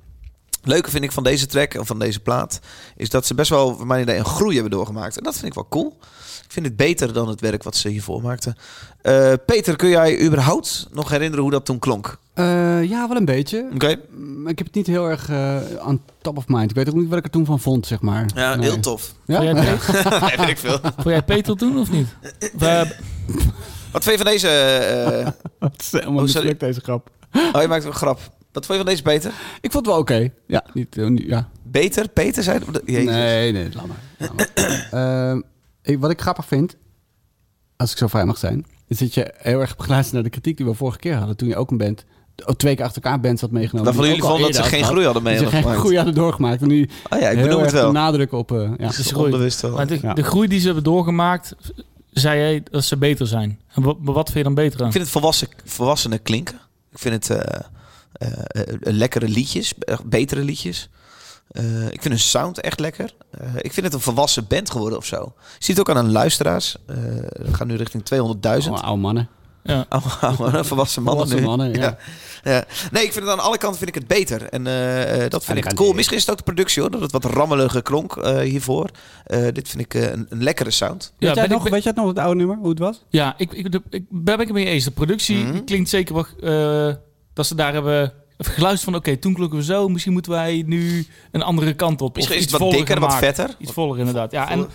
Leuke vind ik van deze track en van deze plaat is dat ze best wel, voor mijn idee, een groei hebben doorgemaakt. En dat vind ik wel cool. Ik vind het beter dan het werk wat ze hiervoor maakten. Eh, Peter, kun jij überhaupt nog herinneren hoe dat toen klonk?
Eh, ja, wel een beetje.
Oké.
Mm, Ik heb het niet heel erg aan on top of mind. Ik weet ook niet wat ik er toen van vond, zeg maar.
Ja,
Nee.
heel tof.
Ja?
Vond jij,
nee, weet ik veel.
vond jij Peter doen of niet? Of, eh,
Wat vind je van deze? eh,
Het is helemaal
Oh, sorry.
mislukt, deze grap.
oh, je maakt een grap. Wat vond je van deze beter?
Ik vond het wel oké. Ja, niet, eh, niet- ja.
Beter? Peter zei... Jezus.
Nee, nee, laat maar. Laat maar. Ehm, ik- wat ik grappig vind, als ik zo vrij mag zijn, is dat je heel erg hebt geluisterd naar de kritiek die we vorige keer hadden. Toen je ook een band, oh, twee keer achter elkaar bands had meegenomen.
Waarvan
die
jullie
ook al
vonden dat
eerder
ze geen
had
groei
gehad.
hadden mee
Die ze
hadden
geen groei hadden doorgemaakt. En nu
Oh ja, ik
heel
bedoel
erg
het wel.
de nadruk op... eh ja.
Het is groei.
onbewust wel.
Maar de,
Ja.
de groei die ze hebben doorgemaakt, zei jij dat ze beter zijn. En wat, wat vind je dan beter aan?
Ik vind het volwassen, volwassenen klinken. Ik vind het eh, eh, eh, lekkere liedjes, eh, betere liedjes. Eh, ik vind hun sound echt lekker. Eh, ik vind het een volwassen band geworden of zo. Je ziet het ook aan hun luisteraars. Eh, we gaan nu richting 200.000.
Allemaal oude mannen.
Ja.
Oude- oude mannen, Oh, volwassen mannen
Volwassen
nu.
mannen, ja.
Ja. Ja. Nee, ik vind het aan alle kanten vind ik het beter. En eh, eh, dat
Ja,
vind ik
dat
cool.
kan-
Misschien is het ook de productie hoor, dat het wat rammelige klonk eh, hiervoor. Eh, dit vind ik eh, een, een lekkere sound.
Weet, jij
ben ik-
nog, weet jij nog het oude nummer, hoe het was?
Ja, ik, ik, de- ik, daar ben ik het mee eens. De productie
Mhm.
klinkt zeker wel... eh, dat ze daar hebben even geluisterd van... Oké, toen klonken we zo. Misschien moeten wij nu een andere kant op.
Misschien
of
is
iets
het wat
voller
dikker,
gaan
wat
maken.
vetter.
Iets voller inderdaad. Ja, en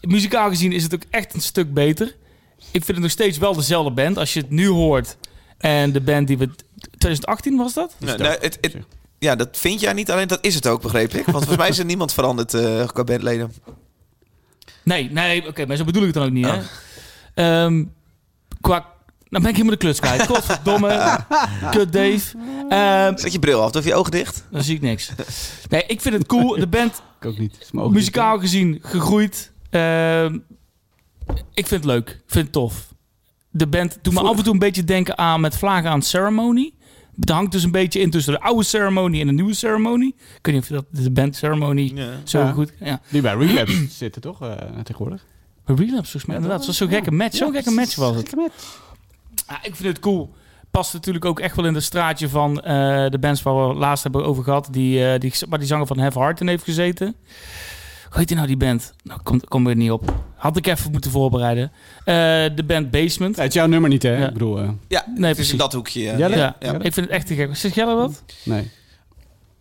muzikaal gezien is het ook echt een stuk beter. Ik vind het nog steeds wel dezelfde band. Als je het nu hoort en de band die we... 2018 was dat?
Nee, nee, het, het- ja, dat vind jij niet. Alleen dat is het ook, begreep ik. Want volgens mij is er niemand veranderd eh qua bandleden.
Nee, nee, oké, maar zo bedoel ik het dan ook niet, hè? Ehm, qua... Nou ben ik helemaal de kluts kwijt. Godverdomme. Kut Dave. Ehm,
Zet je bril af, doe je ogen dicht.
dan zie ik niks. Nee, ik vind het cool. De band,
Ik ook niet. Is mijn ogen dicht.
muzikaal gezien, gegroeid. Ehm, ik vind het leuk. Ik vind het tof. De band doet me af en toe een beetje denken aan met vlagen aan Ceremony. Het hangt dus een beetje in tussen de oude Ceremony en de nieuwe Ceremony. Ik weet niet of je dat de band Ceremony zo
Ja.
goed... Ja.
Die bij Relapse zitten toch eh, tegenwoordig?
Relapse volgens mij, inderdaad. Het was zo'n gekke match. Zo'n gekke match was het.
Gekke match.
Ja, ik vind het cool. Past natuurlijk ook echt wel in de straatje van eh, de bands waar we laatst hebben over gehad. Die, eh, die, waar die zanger van Have Heart in heeft gezeten. Hoe heet die nou, die band? Nou, kom, kom er niet op. Had ik even moeten voorbereiden. Eh, de band Basement.
Ja, het is jouw nummer niet, hè?
Ja.
Ik bedoel, eh,
Ja, nee,
Nee,
het is
precies.
in dat hoekje. eh.
Jelle?
Ja,
Ja.
ik vind het echt te gek. Zeg Jelle wat?
nee.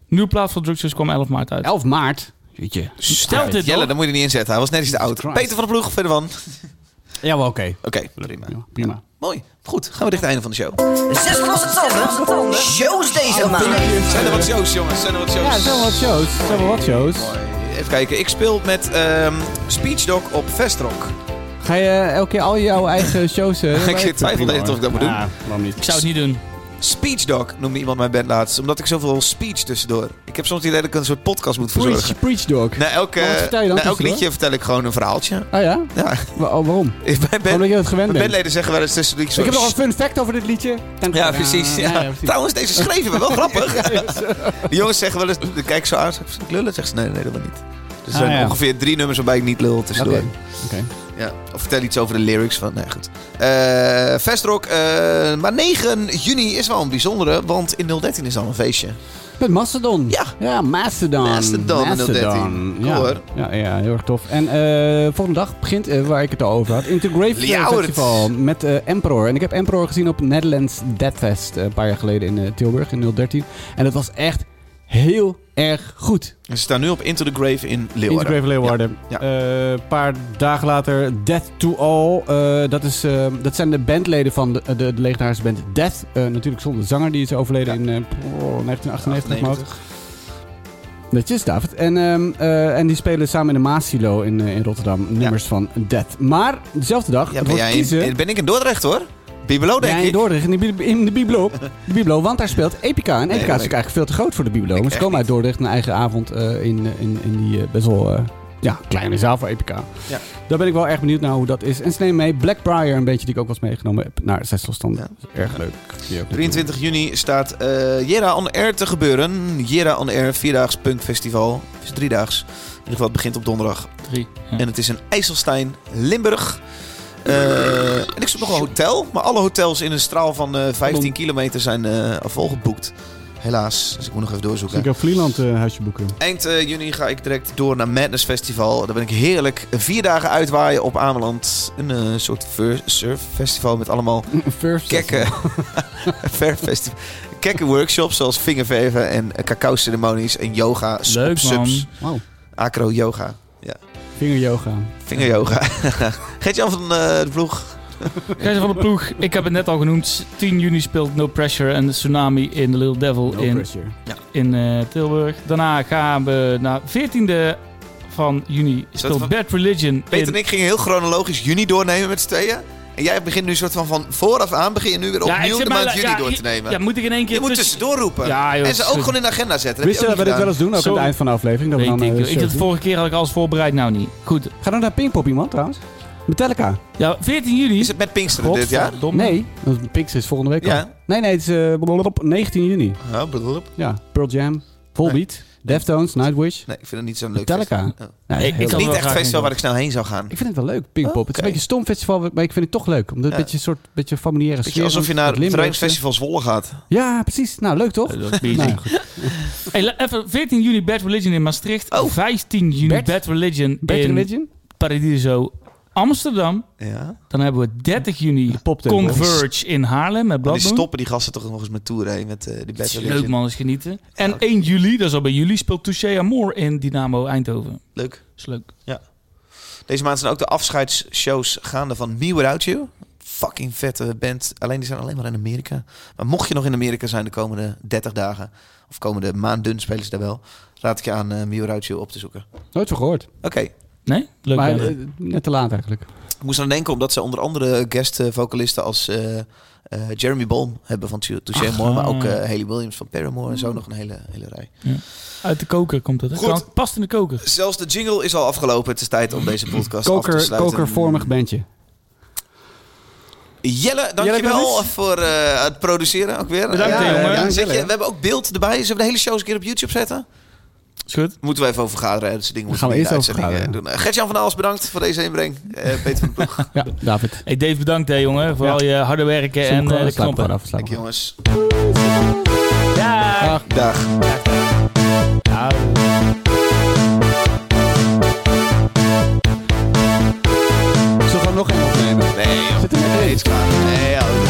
Nieuwe plaats van Drugs kwam 11 maart uit.
11 maart. Weet je.
Stelt dit
Jelle,
Jelle,
dan moet je er niet inzetten. Hij was net iets te oud.
Christ.
Peter van de Ploeg, verder van. Oké,
Ja, wel oké.
prima.
Ja, prima.
Mooi. Goed, gaan we richting het einde van de show.
Zes losse tanden. Shows deze maand.
Zijn er wat shows, jongens? Zijn er wat
Ja,
shows?
het zijn wel wat shows. Het zijn wel wat shows.
Even kijken. Ik speel met ehm Speechdog op Vestrock.
Ga je eh, elke keer al jouw eigen shows... eh, erbij?
zit twijfel
Prima,
even of ik dat
hoor.
moet
Ja, waarom
Ik
niet?
zou het niet doen.
Speechdog noemde iemand mijn band laatst. Omdat ik zoveel speech tussendoor. Ik heb soms het idee dat ik een soort podcast moet verzorgen.
Preach, preach dog.
Na elk, eh,
Maar wat vertel je dan
na elk
tussendoor?
liedje vertel ik gewoon een verhaaltje.
Ah ja?
Ja,
Wa- oh, waarom?
ik ben, ben,
Omdat je het gewend
mijn
bent.
bandleden zeggen wel eens tussen de liedjes...
Ik heb nog
"Sst,
een fun fact over dit liedje.
Ja, precies. Ja. Trouwens, deze schreven we wel grappig. Die jongens zeggen wel eens, kijk zo aan, zeg ik, "Zal ik lullen? Zegt ze, nee, nee, dat wil niet. Dus er
Ah,
zijn
ja.
ongeveer drie nummers waarbij ik niet lul
Oké.
tussendoor.
Oké.
Ja. Of vertel iets over de lyrics van, nee, goed. Eh Vestrock, eh, maar 9 juni is wel een bijzondere, want in 013 is dan een feestje.
Met Mastodon.
Ja.
Ja, Mastodon.
Mastodon in 013. Cool,
Ja.
hoor.
Ja, ja, heel erg tof. En eh, volgende dag begint, eh, waar ik het al over had, Intergrave
Ljouwert.
Festival met eh, Emperor. En ik heb Emperor gezien op Netherlands Deadfest eh, een paar jaar geleden in eh, Tilburg in 013. En dat was echt heel erg goed.
En ze staan nu op Into the Grave in Leeuwarden.
Leeuwarden. Grave Leeuwarden.
Ja.
Eh, Een paar dagen later Death to All. Eh, dat, is, eh, dat zijn de bandleden van de, de, de legendarische band Death. Eh, natuurlijk zonder zanger, die is overleden
Ja.
in eh, oh, 1998. uit mijn hoofd.
98.
Netjes, David. En, ehm, eh, en die spelen samen in de Maasilo in, eh, in Rotterdam nummers van Death. Maar dezelfde dag,
Ja,
het
ben,
wordt
jij in-
kiezen...
ben ik in Dordrecht hoor. Bibelo
Ja,
denk
in
ik.
Dordrecht, in de, bib- in de Biblo. De Biblo, want daar speelt Epica. En
dat
Epica is
weet
natuurlijk
ik.
eigenlijk veel te groot voor de Biblo. Maar ze
echt
komen uit Dordrecht een eigen avond eh, in, eh, in, in die eh, best wel eh, ja, kleine zaal voor Epica.
Ja.
Daar ben ik wel erg benieuwd naar hoe dat is. En ze nemen mee Blackbriar, een beetje die ik ook was meegenomen heb naar Zesselstand.
Ja.
Erg leuk. Die ook
23 juni staat eh Jera on Air te gebeuren. Jera on Air, vierdaags punkfestival. Het is driedaags. In ieder geval, het begint op donderdag.
Drie. Ja.
En het is in IJsselstein, Limburg. Eh, en ik zoek nog een hotel. Maar alle hotels in een straal van eh, 15 kilometer zijn eh, al volgeboekt. Helaas. Dus ik moet nog even
Dus
doorzoeken.
ik heb Vlieland eh, huisje boeken.
Eind eh, juni ga ik direct door naar Madness Festival. Daar ben ik heerlijk eh, vier dagen uitwaaien op Ameland. Een eh, soort fur- surffestival met allemaal
First.
kekke, verfestival. kekke workshops zoals vingerverven en eh, cacao-ceremonies en yoga. s-
Leuk,
op subs.
man.
Wow.
Acro-yoga.
Vingeryoga.
Vingeryoga. Geet-Jan van eh, de Vloeg
Gijzer van de Ploeg, ik heb het net al genoemd. 10 juni speelt No Pressure en Tsunami in The Little Devil
No
in,
Pressure.
in eh, Tilburg. Daarna gaan we naar 14e van juni speelt
van-
Bad Religion
Peter
in...
en ik gingen heel chronologisch juni doornemen met z'n tweeën. En jij begint nu soort van van vooraf aan begin je nu weer
Ja, ik
opnieuw
zit
de
maar
maand
la-
juni
ja,
door te
je-
nemen.
ja, moet ik in één keer
Je moet
tussen-
tussendoor roepen.
Ja, joh,
en ze ook
sorry.
gewoon in de agenda zetten.
Wist je dat we dit wel eens doen? Ook aan
Sorry.
het eind van de aflevering? Dat we
Weet
dan,
ik,
eh,
joh. ik,
shirtje-
de vorige keer had ik alles voorbereid, nou niet. Goed.
Ga dan naar Pinkpop iemand trouwens? Metallica.
Ja, 14 juni.
Is het met Pinksteren dit jaar?
Nee, want Pix is volgende week al.
Ja.
Nee, nee, het is eh, blablabla, 19 juni.
Ja, blablabla.
Ja, Pearl Jam, Volbeat, Deftones, Nightwish.
Nee, ik vind het niet zo'n leuk
Metallica.
festival. Ja.
Nee, heel
Het is
leuk.
niet echt festival waar ik snel heen zou gaan.
Ik vind het wel leuk, Pinkpop. Het is
Oké.
een beetje een stom festival, maar ik vind het toch leuk. Omdat het
Ja.
een beetje een soort beetje een familiaire
Beetje alsof je
want
naar
het
het
Limburgse-
Rijnsfestival Zwolle gaat.
Ja, precies. Nou, leuk toch?
Dat is
Nou,
amazing. Hey, la- even 14 juni Bad Religion in Maastricht.
Oh.
15 juni
Bad?
Bad, Religion
Bad
in
Religion?
Paradiso Amsterdam.
Ja.
Dan hebben we 30 juni
poptempel.
Converge in Haarlem met
Die
Bloodmoon.
stoppen die gasten toch nog eens met toeren heen met eh, die
Dat
Bad
is
Religion.
Leuk man, eens genieten. En 1 juli, dat is al bij jullie, speelt Touché Amor in Dynamo Eindhoven.
Leuk.
Is leuk.
Deze maand zijn ook de afscheidsshows gaande van Me Without You. Fucking vette band. Alleen die zijn alleen maar in Amerika. Maar mocht je nog in Amerika zijn de komende 30 dagen... of komende maanden spelen ze daar wel... raad ik je aan eh Me Without You op te zoeken.
Nooit van gehoord.
Oké.
Nee? Leuk
maar
man.
eh, net te laat eigenlijk.
Ik moest aan denken omdat ze onder andere guest eh, vocalisten als eh, eh, Jeremy Bohm hebben van Tou- Touché Amore, maar ook eh Haley Williams van Paramore
Hmm.
en zo nog een hele, hele rij.
Uit de koker komt het. hè?
Goed.
Kan- Past in de koker.
Zelfs de jingle is al afgelopen. Het is tijd om deze podcast af te
Koker,
sluiten.
kokervormig bandje.
Jelle,
Jelle
dankjewel
Brulis.
voor eh, het produceren ook weer.
Bedankt, hè, jongen.
ja, zeg
Jelle.
je, we hebben ook beeld erbij. Zullen we de hele show eens een keer op YouTube zetten?
Is goed.
Moeten we even over vergaderen. hè? Dat soort dingen
Gaan we
moeten
eerst
in
over
de uitzending, eh, doen. Eh, Gert-Jan van Aals, bedankt voor deze inbreng. Eh, Peter van de Ploeg.
Ja, David.
Hey Dave, bedankt hè jongen. Voor
Ja.
al je harde werken eh, en eh, de knoppen.
Dank je, jongens.
Daag.
Dag.
Zullen we gewoon nog één opnemen?
Nee, joh.
Zit er net in?
Nee, het is klaar. Nee, joh.